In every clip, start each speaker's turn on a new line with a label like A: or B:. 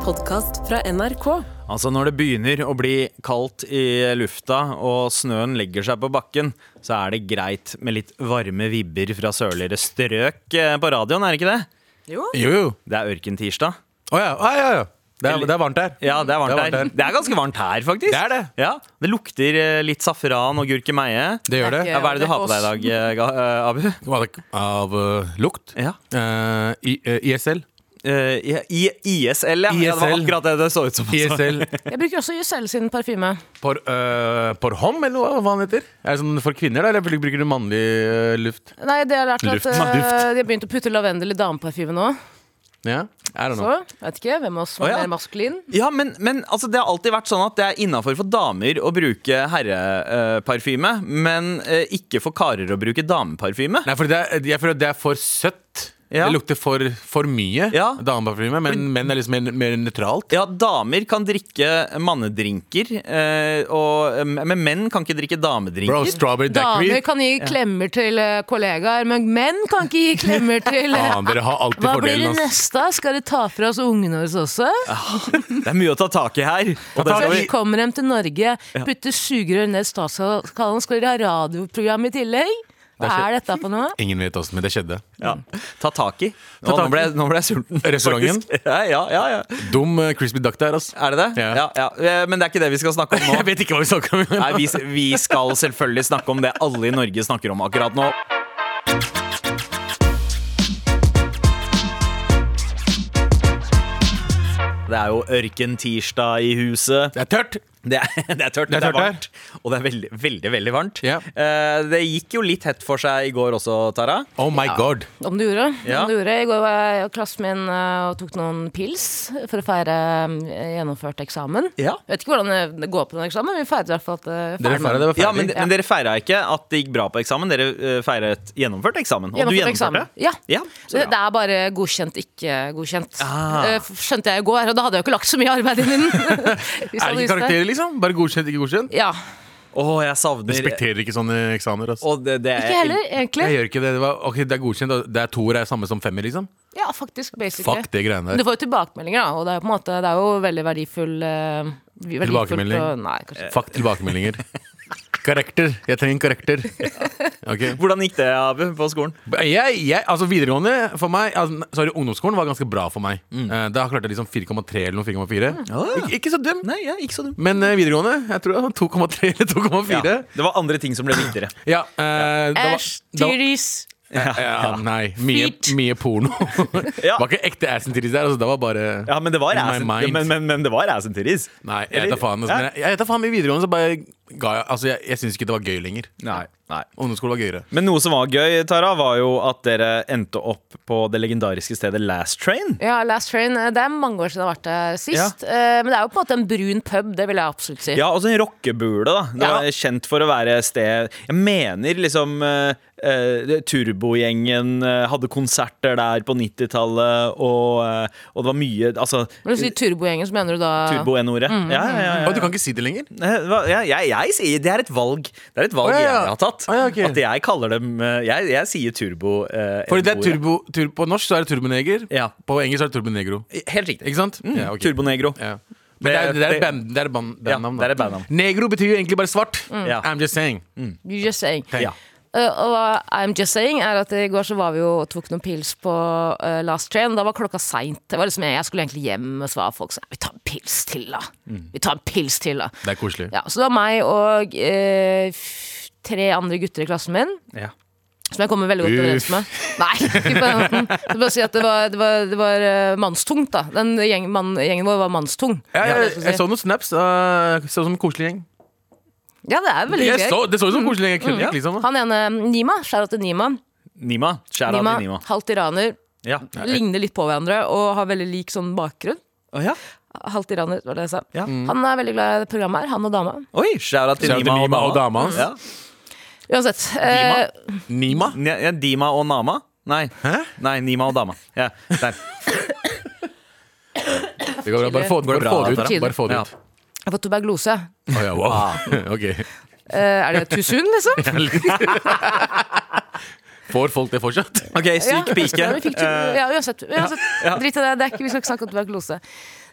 A: podkast fra NRK.
B: Altså Når det begynner å bli kaldt i lufta og snøen legger seg på bakken, så er det greit med litt varme vibber fra sørligere strøk eh, på radioen, er det ikke det?
C: Jo, jo.
B: Det er ørkentirsdag.
C: Å ja. Ah, ja, ja. Det, er, det er varmt her.
B: Ja, det er varmt,
C: Det er varmt
B: her.
C: her.
B: Det er ganske varmt her, faktisk.
C: Det er det.
B: Ja, det lukter eh, litt safran og gurkemeie.
C: Det gjør det.
B: Ja, hva er det du har på deg i dag, eh, Ga- eh, Abu?
C: Var det Av eh, lukt.
B: Ja.
C: Eh, I, eh, ISL.
B: Eh, I, I, ISL, ja. ja. Det var
C: ISL.
B: akkurat det det så ut som. altså.
C: Altså.
B: også.
C: ISL
D: Jeg bruker også YSL sin parfyme.
C: Por, eh, Porhom, eller hva- hva han heter? Er det sånn for kvinner, da? Eller bruker du mannlig eh, luft?
D: Nei, det har lært at
C: Luft.
D: eh,
C: Duft.
D: de har begynt å putte lavendel i dameparfyme nå.
C: Ja, er det
D: Så
C: noe?
D: vet ikke hvem av oss som
B: Å,
D: er
B: ja.
D: mer maskulin.
B: Ja, men, men altså, Det har alltid vært sånn at det er innafor for damer å bruke herreparfyme, men eh, ikke for karer å bruke dameparfyme.
C: Nei, for det er, jeg føler at det er for søtt.
B: Ja.
C: Det lukter for, for mye
B: Ja.
C: dameparfyme, men menn er liksom mer, mer nøytralt.
B: Ja, damer kan drikke mannedrinker, eh, og, eh, men menn kan ikke drikke
C: Bro,
B: damedrinker.
C: strawberry daiquiri.
D: Damer kan gi klemmer til eh, kollegaer, men menn kan ikke gi klemmer til eh,
C: Faen, dere har alltid
D: Hva blir
C: fordelen.
D: det
C: ass.
D: neste? Skal de ta fra oss ungene våre også?
B: Det er mye å ta tak i her. Og det
C: tak
B: skal
C: i-
B: vi
D: Først kommer de til Norge, putter sugerør ned statskallen, skal de ha radioprogram i tillegg? Hva
C: Det er
D: er dette for noe?
C: Ingen vet åssen, men det skjedde.
B: ja, ta tak i. Nå,
C: Ta
B: nå,
C: tak
B: ble,
C: i.
B: jeg- nå ble jeg sulten.
C: Restauranten?
B: faktisk. Ja, ja, ja, ja.
C: Dum eh, crispy duck der, ass.
B: Er det det?
C: Ja.
B: Ja, ja. Eh, Men det er ikke det vi skal snakke om nå.
C: Jeg vet ikke hva vi snakker om.
B: Nei, vi, vi skal selvfølgelig snakke om det alle i Norge snakker om akkurat nå. Det er jo ørkentirsdag i huset.
C: Det er tørt!
B: Det er, det er tørt, det er,
C: Det er tørt
B: varmt. Og det er veldig, veldig veldig varmt.
C: Ja.
B: Eh, det gikk jo litt hett for seg i går også, Tara.
C: Oh my god.
D: Om du gjorde?
B: Ja.
D: Om du gjorde. I går var jeg og klassen min eh, og tok noen pils for å feire eh, gjennomført eksamen.
B: Ja.
D: Jeg vet ikke hvordan det går på den eksamen, men vi feiret i hvert fall at eh,
C: Dere
D: ferdig.
C: feira det var ferdig.
B: Ja, men, men dere feira ikke at det gikk bra på eksamen. Dere eh, feiret gjennomført eksamen. Og
D: Gjennomført
B: du
D: eksamen.
B: gjennomførte?
D: Ja.
B: Ja, så
D: det,
B: bra.
D: det er bare godkjent, ikke godkjent.
B: Ah.
D: Eh, skjønte jeg i går, og da hadde jeg jo ikke lagt så mye arbeid inn i den. Hvis jeg hadde
C: Er det ikke
D: visst det.
C: karakterer, liksom? Bare godkjent, ikke godkjent?
D: Ja.
B: Å, jeg savner
C: Respekterer ikke sånne eksamener, altså. ass.
B: Og det, det er-
D: Ikke heller, egentlig.
C: Eh, Jeg gjør ikke det. Det, var, ok, det er godkjent, og det er toer er samme som femmer, liksom.
D: Ja, faktisk, basically.
C: Fuck det greiene
D: Men Du
C: der.
D: får jo tilbakemeldinger, da, og det er jo, på en måte, det er jo veldig verdifull eh, verdifullt
C: Tilbakemelding.
D: å- Nei, kanskje ikke.
C: Fuck tilbakemeldinger. Karakter. Jeg trenger en karakter. Ok
B: Hvordan gikk det, Abu, på skolen?
C: jeg, jeg, altså Videregående for meg altså, Sorry, ungdomsskolen var ganske bra for meg. Eh, da klarte jeg liksom 4,3 eller noe 4,4.
B: Ah.
C: Ik ikke så dum.
B: Nei, jeg gikk så dum.
C: Men eh, videregående, jeg tror det var 2,3 eller 2,4.
B: Det var andre ting som ble viktigere.
C: Ja. eh, da var-
D: Æsj,
C: da var-
D: titties.
C: ja, nei. Mye,
D: Feet.
C: mye porno.
B: Ja.
C: Var ikke ekte assen titties der. Altså, det var bare
B: Ja, men det var
C: In my
B: assen,
C: mind.
B: men, men, men det var assen til ris.
C: Nei, jeg vet da faen.
B: Ja.
C: Altså, men jeg, jeg vet da faen, I videregående så bare ga jeg Altså, jeg, jeg syns ikke det var gøy lenger.
B: Nei, nei.
C: Ungdomsskolen var gøyere.
B: Men noe som var gøy, Tara, var jo at dere endte opp på det legendariske stedet Last Train.
D: Ja, Last Train. eh, Det er mange år siden jeg har vært der sist. Eh, Men det er jo på en måte en brun pub, det vil jeg absolutt si.
B: Ja, og så en rockebule, da. Det
D: Ja.
B: er kjent for å være sted Jeg mener liksom eh, eh, Turbogjengen eh, hadde konserter der på 90-tallet, og, eh, og det var mye Altså
D: Når du sier turbogjengen, så mener du da
B: Turbo-N-ordet. Ja, ja, ja, ja.
C: Å, du kan ikke si det lenger?
B: Nei, Eh, hva- Jeg, jeg, jeg sier Det er et valg Det er et valg
C: Å, ja, ja.
B: jeg har tatt.
C: Å, ja, ok.
B: At jeg kaller dem eh, Jeg, jeg sier turbo. eh,
C: Fordi det er
B: ordet.
C: turbo, tur, På norsk så er det turboneger.
B: Ja.
C: På engelsk så er det turbonegro.
B: Helt riktig.
C: Ikke sant?
B: Mm,
C: Ja, ok.
B: Turbonegro.
C: Ja. Men det, er- det er
B: Det-
C: et band- det er et band- bandnavn.
B: det er et
C: da.
B: bandnavn.
C: Negro betyr jo egentlig bare svart.
B: Ja.
C: I'm just saying.
D: You just saying.
B: Ja.
D: Eh, og hva I'm just saying er at I går så var vi jo og tok noen pils på eh, Last Train. Da var klokka seint. Det var liksom, jeg skulle egentlig hjem, og så var folk sånn Vi tar en pils til, da.
B: Mm.
D: Vi tar en pils til, da.
C: Det er koselig.
D: Ja, så det var meg og eh, f- tre andre gutter i klassen min.
B: Ja.
D: Som jeg kommer veldig godt overens
C: Uff.
D: med. Nei, ikke på den måten. Jeg vil bare si at det var, det var, det var eh, mannstungt, da. Den gjeng, mann, gjengen vår var mannstung. Det er
C: Ja,
D: det
C: jeg,
D: jeg
C: jeg,
D: skal si.
C: så noen snaps. Uh, så ut som en koselig gjeng.
D: Ja, det er veldig
C: Jeg
D: gøy.
C: så, det så ut som en koselig
B: Mm.
C: gjeng. Jeg kødder ikke, liksom.
D: Han ene, mm, Nima, skjæra til Nima.
B: Nima. Shout out
D: Nima,
B: til Nima.
D: Halvt iraner.
B: Ja.
D: Ligner litt på hverandre og har veldig lik sånn bakgrunn.
B: Å, ja.
D: Halvt iraner, var det jeg sa.
B: Ja.
D: Han er veldig glad i det programmet her, han og dama.
B: Oi! Shout out til
C: Shout out til
B: Nima,
C: Nima og dama hans.
B: Ja.
D: Uansett. eh,
C: Nima?
B: Ja, ja, Dima og Nama. Nei.
C: Hæ?
B: Nei, Nima og dama. Ja, der.
C: Det går bra. Bare få,
B: Går det
C: bare få
B: bra,
C: det
B: dette
D: her?
C: ut. Bare få det
B: Ja.
C: ut.
D: jeg har fått tuberkulose.
C: Å ja, wow. Ok.
D: Eh, er det too soon, liksom?
C: Får folk det fortsatt?
B: OK, syk
D: Ja,
B: pike.
D: vi fikk tu-
B: Eh,
D: ja, uansett. uansett. Drit i det. det er ikke, vi skal ikke snakke om tuberkulose.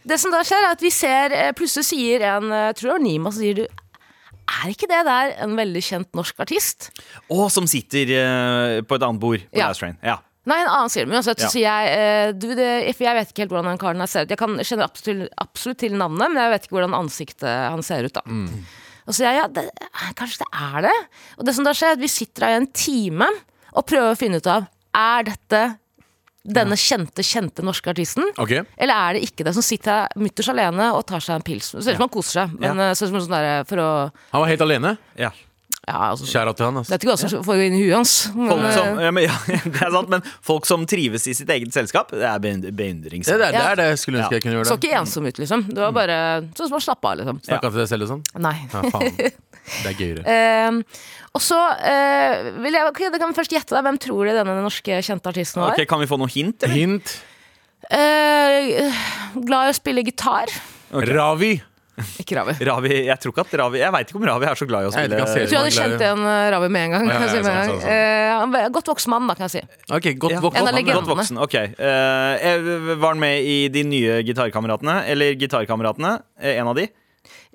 D: Det som da skjer, er at vi ser eh, Plutselig sier en eh, Tror jeg det var Nima som sier du Er ikke det der en veldig kjent norsk artist?
B: Og som sitter eh, på et annet bord på
D: Ja.
B: Last Train. Ja.
D: Nei, en annen sier det, men uansett
B: Ja.
D: så sier jeg eh, du, det, for Jeg vet ikke helt hvordan den karen her ser ut. Jeg kan, kjenner absolutt, absolutt til navnet, men jeg vet ikke hvordan ansiktet han ser ut. da
B: Mm.
D: Og så sier jeg ja, det, kanskje det er det? Og det som da skjer, er at vi sitter her i en time og prøver å finne ut av Er dette denne kjente, kjente norske artisten.
C: Ok.
D: Eller er det ikke det som sitter her mutters alene og tar seg en pils? Det ser ut som han koser seg, men eh, ser ut som en sånn der, for å
C: Han var helt alene.
B: ja.
D: ja, altså,
C: Kjære til han. ass.
D: Jeg vet ikke hva som foregår inni huet hans. men,
B: Folk
D: eh,
B: som, ja, men, ja, det er sant, men folk som trives i sitt eget selskap, det er beund- beundrings...
C: Det er det, det
D: Ja.
C: er det jeg skulle ønske jeg kunne gjøre.
D: Så
C: det
D: ikke ensom ut, liksom. Det var bare sånn som man slappa av, liksom.
C: Snakka til deg selv og sånn.
D: Nei.
C: Ja, faen. Det er gøyere.
D: Ehm, og så eh, vil jeg ok, Dere kan først gjette deg hvem tror de denne norske kjente artisten var.
B: Ok, Kan vi få noe hint? Eller?
C: Hint.
D: Eh, glad i å spille gitar.
B: Ok.
C: Ravi.
D: Ikke Ravi. Jeg
B: Ravi, jeg tror ikke at Ravi Jeg veit ikke om Ravi er så glad i å
C: Jeg vet ikke,
B: spille
D: tror
C: han ser ut
D: jeg
C: som
D: hadde
C: han
D: kjent
C: er glad i-
D: igjen eh, Ravi med en gang.
C: Ja,
D: kan jeg
C: ja, sånn,
D: si med en gang.
C: sant, sant, sant.
D: Eh, han var- godt voksen mann, da, kan jeg si.
C: Ok, godt
B: Ja.
C: vokst.
D: En av
C: mann, da.
D: legendene.
B: Godt voksen. Ok. Eh, jeg var han med i de nye gitarkameratene? Eller gitarkameratene? Eh, En av de?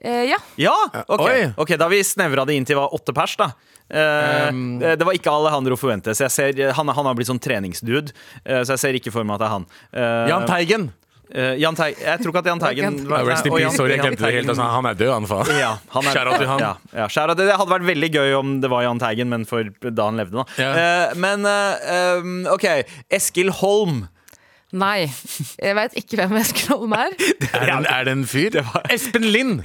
D: Eh, ja.
B: Ja! Ok,
C: Oi.
B: Ok, da har vi snevra det inn til hva, åtte pers, da. Eh,
C: Um.
B: eh, det var ikke Alejandro Fuentes. Jeg ser, han, han har blitt sånn treningsdude, eh, så jeg ser ikke for meg at det er han. Eh,
C: Jan Teigen.
B: eh, Jan Teig- jeg tror ikke at Jan Teigen
D: Jan-
B: var-
C: Rest in
B: og
C: peace.
B: Jan-
C: Sorry, jeg
B: Jan
C: glemte det helt.
B: Teigen-
C: Altså, han er død, han faen.
B: ja, han er,
C: Shout-out til han.
B: Ja, ja, shout-out. det hadde vært veldig gøy om det var Jahn Teigen, men for da han levde, da.
C: Ja.
B: Eh, men eh, um, OK. Eskil Holm.
D: Nei. Jeg veit ikke hvem Espen Holm er.
C: Er det en, er det en fyr? Espen Lind!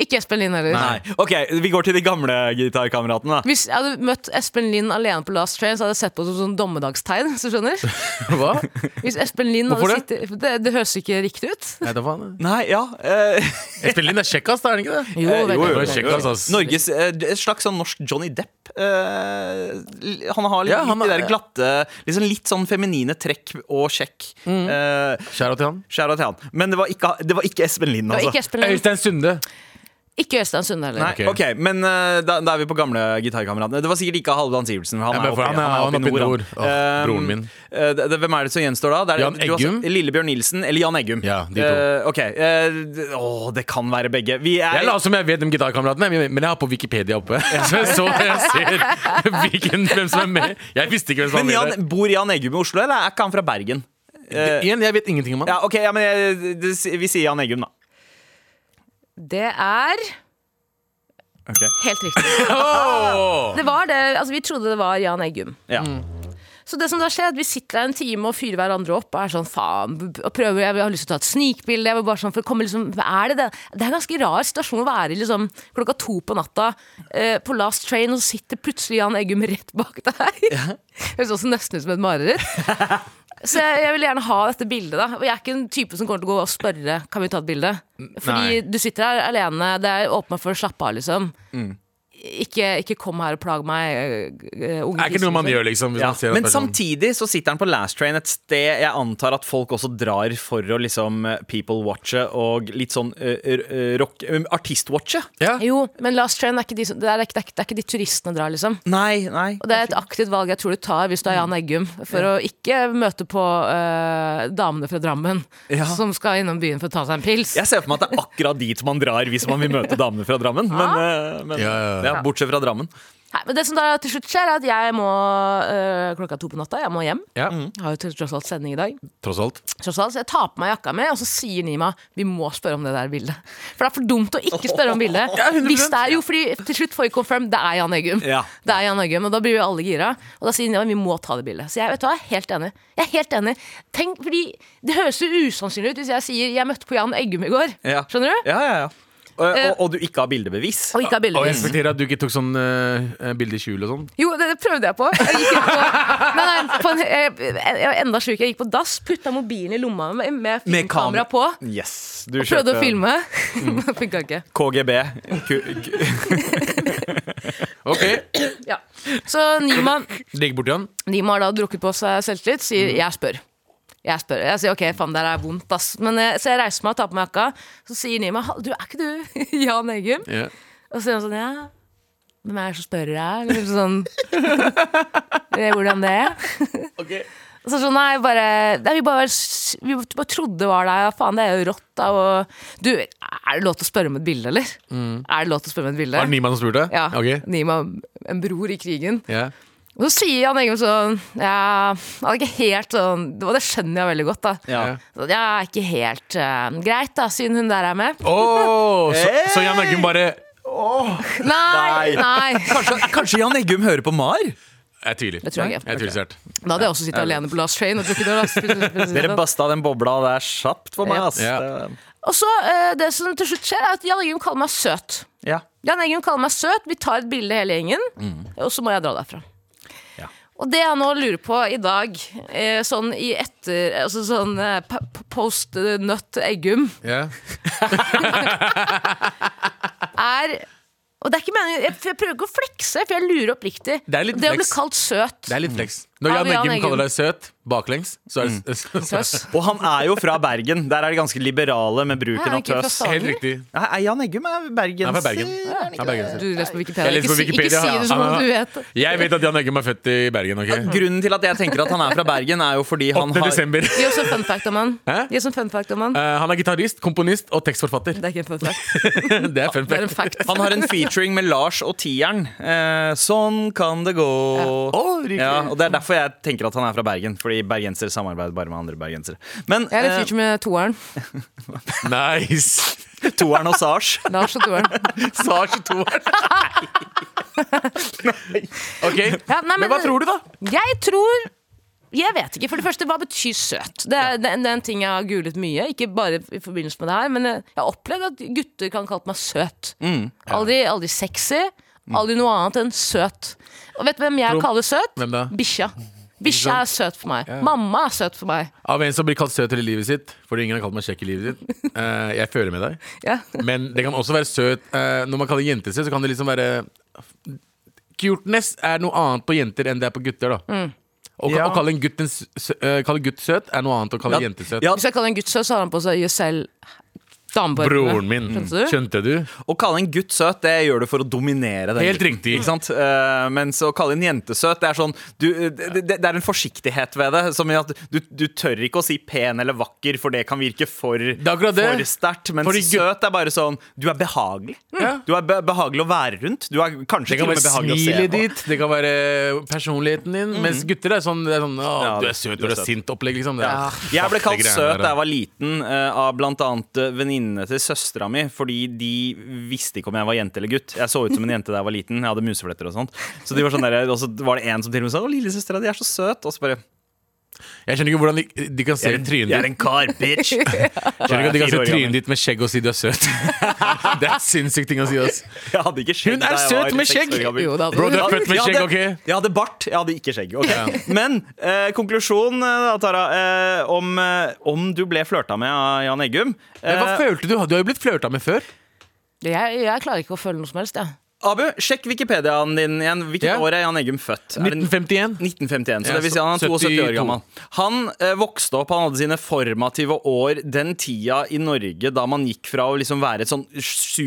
D: Ikke Espen Lind heller.
B: Nei. OK, vi går til de gamle gitarkameratene, da.
D: Hvis jeg hadde møtt Espen Lind alene på Last Train, så hadde jeg sett på det som sånn dommedagstegn. Hvis du skjønner
C: Hva?
D: Hvis Espen Lind hadde
C: Hvorfor
D: sittet det, det høres ikke riktig ut.
C: Nei, da faen.
B: Nei, ja. eh,
C: Espen Lind er kjekkas, da, er han ikke det?
D: Jo,
B: eh,
D: vet jeg.
B: jo, jo,
C: Det var kjekk, altså, ass.
B: Norges eh, Et slags sånn norsk Johnny Depp. Eh, han har litt,
C: Ja, han
B: de
C: er-
B: der glatte, liksom litt sånn feminine trekk og sjekk.
D: Mm.
B: Eh,
C: Kjære til han.
B: Skjæra til han. Men det var ikke, det var ikke Espen Lind,
D: Det var
B: altså.
D: ikke Espen Lind.
C: Øystein Sunde.
D: Ikke Øystein Sunde heller.
B: Nei,
C: Ok.
B: ok, Men eh, da, da er vi på gamle gitarkameratene. Det var sikkert ikke Halvdan Sivertsen. for
C: Ja,
B: Han
C: men
B: er
C: for
B: oppe
C: han er- han er
B: oppe i
C: oppe i
B: nord.
C: nord.
B: han.
C: Åh,
B: Eh,
C: broren min.
B: eh, det, det, hvem er det som gjenstår da? Det er,
C: Jan
B: du har-
C: Eggum?
B: Lillebjørn Nilsen eller Jan Eggum.
C: Ja, de to.
B: Eh, ok, eh, d- Åh, det kan være begge. Vi er
C: Jeg la som jeg vet om gitarkameratene, men- men jeg har på Wikipedia oppe. Så jeg så jeg ser hvilken, hvem som er med. Jeg visste ikke hvem som var
B: Men
C: med.
B: Jan, bor Jan Eggum i Oslo, eller er ikke han fra Bergen?
C: der. Igjen, jeg vet ingenting om han.
B: Ja, ok, ja, men jeg, det, Vi sier Jan Eggum, da.
D: Det er
B: Ok.
D: helt riktig.
C: Åh!
D: Det var det, altså Vi trodde det var Jan Eggum.
B: Ja.
C: Mm.
D: Så det som da skjer er at Vi sitter her en time og fyrer hverandre opp og er sånn faen b- b- og prøver, Jeg har lyst til å ta et snikbilde. Jeg vil bare sånn, for å komme liksom, hva er Det det? Det er en ganske rar situasjon å være i liksom, klokka to på natta eh, på last train, og så sitter plutselig Jan Eggum rett bak deg. Høres også nesten ut som et mareritt. Så jeg, jeg vil gjerne ha dette bildet. da Og jeg er ikke en type som kommer til å gå og spørre Kan vi ta et bilde. Fordi
C: Nei.
D: du sitter her alene, det er åpent for å slappe av, liksom.
C: Mm.
D: Ikke, ikke kom her og plag meg, eh, unge
C: Er ikke noe man gjør, liksom. Hvis
B: Ja.
C: man ser at
B: Men
C: personen-
B: samtidig så sitter han på Last Train et sted jeg antar at folk også drar for å liksom eh, people-watche og litt sånn eh, eh, rock... eh, Artist-watche.
C: ja.
D: Jo, men Last Train er ikke de, som- det er, ikke- det er, ikke- det er ikke de turistene drar, liksom.
B: Nei, nei.
D: Og det er et aktivt valg jeg tror du tar hvis du
B: Mm.
D: er Jan Eggum, for å ikke møte på eh, damene fra Drammen
B: Ja.
D: som skal innom byen for å ta seg en pils.
B: Jeg ser for meg at det er akkurat dit man drar hvis man vil møte damene fra Drammen. Men, eh, men ja,
C: Ja, ja, ja.
B: bortsett fra Drammen.
D: Nei, men det som da til slutt skjer, er at jeg må eh, klokka to på natta, jeg må hjem.
C: ja.
D: Jeg har jo til tross alt sending i dag.
C: Tross alt.
D: Tross alt, så jeg tar på meg jakka mi, og så sier Nima vi må spørre om det der bildet. For det er for dumt å ikke spørre om bildet. Hvis det er, jo, fordi til slutt får vi confirm det er Jan Eggum.
B: Ja.
D: Det er Jan Eggum, og da blir jo alle gira. Og da sier Nima vi må ta det bildet. Så jeg vet du hva, jeg er helt enig. Jeg er helt enig. Tenk, fordi det høres jo usannsynlig ut hvis jeg sier jeg møtte på Jan Eggum i går.
B: Ja.
D: Skjønner du?
B: Ja, ja, ja. Og,
D: Eh.
B: og, og du ikke har bildebevis.
D: Og ikke har
C: Og jeg
D: bildebevis.
C: respekterer at du ikke tok sånn uh, bilde i skjul og sånn.
D: Jo, det, det prøvde jeg på. Jeg gikk inn på, nei, nei, på en, jeg, jeg var enda sjuk. Jeg gikk på dass, putta mobilen i lomma med, med
B: Med
D: filmkamera
B: kamera. Mm.
D: på.
B: Yes, du
D: Prøvde
B: kjørte
D: å filme. Det Funka ikke.
B: KGB. Ku, ku,
C: Ok,
D: Ja. Så Nima,
C: Ligg borti han.
D: Nima har da drukket på seg selvtillit, sier 'jeg spør'. Jeg spør, jeg sier ok, faen det her er vondt ass Men eh, Så jeg reiser meg og tar på meg jakka Så sier Nima, «Ha, du er ikke du Jan Eggum?
C: Ja.
D: Og så sier han sånn, ja Hvem er det som spør deg? Liksom sånn «Eh, Hvordan det er? Så sånn, nei, bare, nei, vi, bare, vi bare trodde det var deg. Ja, faen, det er jo rått. Da, og, du, er det lov til å spørre om et bilde, eller? Er det lov til å spørre om et bilde?
C: Var det Niemann som spurte?
D: Ja.
C: Ok.
D: Nima, en bror i krigen.
C: Ja.
D: Og så sier Jan Eggum sånn ja, Han er ikke helt sånn Og det skjønner jeg veldig godt, da.
B: Ja.
C: Ja.
D: Sånn, ja, ikke helt eh, Greit, da, siden hun der er med.
C: Åh, så, så Jan Eggum bare
D: Nei! nei.
B: Kanskje, kanskje Jan Eggum hører på Mar?
C: Jeg tviler.
D: Det tror jeg ikke.
C: Jeg tviler sterkt.
D: Da hadde jeg også sittet alene på Last Train og drukket øl. ass.
B: Dere basta den bobla der kjapt for meg,
D: Ja.
B: ass.
C: Ja.
B: Det-
D: Og så eh, Det som til slutt skjer, er at Jan Eggum kaller meg søt.
B: Ja.
D: Jan Eggum kaller meg søt, vi tar et bilde hele gjengen, og så må jeg dra derfra.
B: Mm. Ja.
D: Og det jeg nå lurer på i dag, eh, sånn i etter altså sånn eh, p- p- post eh, nøtt Eggum,
C: Ja.
D: er Og det er ikke meningen, jeg, for jeg prøver ikke å flekse, for jeg lurer oppriktig.
C: Det er litt
D: det å bli
C: fleks.
D: kalt søt
C: Det er litt flex. Når
D: Ja,
C: Jan
D: Jan
C: Eggum
D: Eggum.
C: kaller deg søt baklengs, så er det
D: Tøs.
B: Og han er jo fra Bergen. Der er de ganske liberale med
D: Er
B: bruken
D: han
B: av
D: ikke fra
B: tøs.
D: Stavanger?
C: Helt riktig.
B: Nei, er Jan Eggum er bergenser.
C: Han er fra Bergen.
B: er han ikke
C: Han er bergenser.
D: Du leser på Wikipedia.
C: Jeg leser på
D: Ikke si-
C: Wikipedia.
D: Ikke si det som om
C: Ja, men-
D: du vet det.
C: Jeg vet at Jan Eggum er født i Bergen. ok?
B: Grunnen til at jeg tenker at han er fra Bergen, er jo fordi han
C: 8.
B: har
C: desember.
D: Gi oss en fun fact om han.
C: Hæ?
D: Gi oss en fun fact om han.
C: Eh, han er gitarist, komponist og tekstforfatter.
D: Det er ikke en fun fact.
C: Det er fun
D: Det er en
C: fact.
D: fact.
B: Han har en featuring med Lars og Tieren. Eh, sånn kan det gå. Ja.
C: riktig.
B: og Det er derfor jeg tenker at han er fra Bergen. Fordi bergensere samarbeider bare med andre bergensere. Men
D: Jeg er litt
B: eh,
D: feature med toeren.
C: Nice!
B: toeren og Sars
D: Lars og toeren.
C: Sars 2. Ok,
D: Ja, nei,
C: men hva tror du, da?
D: Jeg tror jeg vet ikke. For det første, hva betyr søt? Det er, det, er- det er en ting jeg har googlet mye. Ikke bare i forbindelse med det her, men eh, jeg jeg har opplevd at gutter kan kalle meg søt.
C: Mm,
D: Aldri, aldri sexy. Aldri noe annet enn søt. Og vet du hvem jeg
C: Tro-
D: kaller søt?
C: Hvem da?
D: Bikkja. Bikkja er søt for meg. Mamma er søt for meg.
C: Av en som blir kalt søt hele livet sitt, fordi ingen har kalt meg kjekk i livet sitt. Eh, jeg føler med deg.
D: Ja.
C: Men det kan også være søt. eh, når man kaller jenter søt, så kan det liksom være Cuteness er noe annet på jenter enn det er på gutter, da. Å-
B: Mm. Ja.
C: Å kalle en gutt, en s- sø, eh, kalle gutt søt er noe annet å kalle
B: Ja.
C: jente søt.
B: Ja,
D: Hvis jeg kaller en gutt søt, så har han på seg Giselle
C: Broren min.
D: Skjønte du?
C: Skjønte du?
B: Å kalle en gutt søt, det gjør du for å dominere den
C: Helt
B: gutten,
C: riktig.
B: Ikke sant? Eh, mens å kalle en jente søt, det er sånn du, det, det det er en forsiktighet ved det. Som i at du, du tør ikke å si pen eller vakker, for det kan virke for,
C: er akkurat det.
B: for sterkt. Mens
C: Fordi gutt-
B: søt er bare sånn Du er behagelig.
C: Ja.
B: Du er be behagelig å være rundt. Du er kanskje til
C: Det kan
B: og
C: være
B: med behagelig å se
C: smilet
B: på. Mm.
C: ditt, det kan være personligheten din. Mens gutter er sånn, det er sånn Å,
B: Ja,
C: du
B: det-
C: er søt
B: du er
C: når du er
B: søt.
C: sint-opplegg, liksom. Det er-
B: Ja. Jeg ble kalt
C: Fattige
B: søt da
C: greiene
B: jeg
C: der,
B: var liten eh, av blant annet eh, venninnene til søstera mi, fordi de visste ikke om jeg var jente eller gutt. Jeg så ut som en jente da jeg var liten. Jeg hadde musefletter og sånt. Så de var sånn der, og så var det en som til og med sa 'Å, lillesøstera di er så søt'. Og så bare
C: Jeg skjønner ikke hvordan de, de kan se
B: jeg er, en,
C: trynet
B: jeg er
C: ditt.
B: en kar, bitch.
C: Jeg skjønner ikke at de kan
B: fire
C: se
B: år gammel.
C: trynet ditt med skjegg og si du er søt. det er sinnssykt ting å si, ass.
B: Jeg hadde ikke skjegg
C: Hun er søt med skjegg!
D: Jo, det hadde
C: Bro,
D: du.
C: du er født med
B: Jeg
C: skjegg,
B: hadde-
C: OK?
B: Jeg hadde bart, jeg hadde ikke skjegg. ok? Men eh, konklusjon, eh, da, Tara, eh, om, eh, om du ble flørta med av Jan Eggum
C: Men hva
B: eh,
C: følte du? Du har jo blitt flørta med før.
D: Jeg, jeg klarer ikke å føle noe som helst, jeg.
B: Abu, sjekk Wikipediaen din igjen. Hvilket
C: Ja.
B: år er Jan Eggum født? Er det
C: 1951.
B: 1951, så
C: Ja,
B: det vil si han er 72 år
C: 72.
B: gammel. Han eh, vokste opp, han hadde sine formative år den tida i Norge da man gikk fra å liksom være et sånn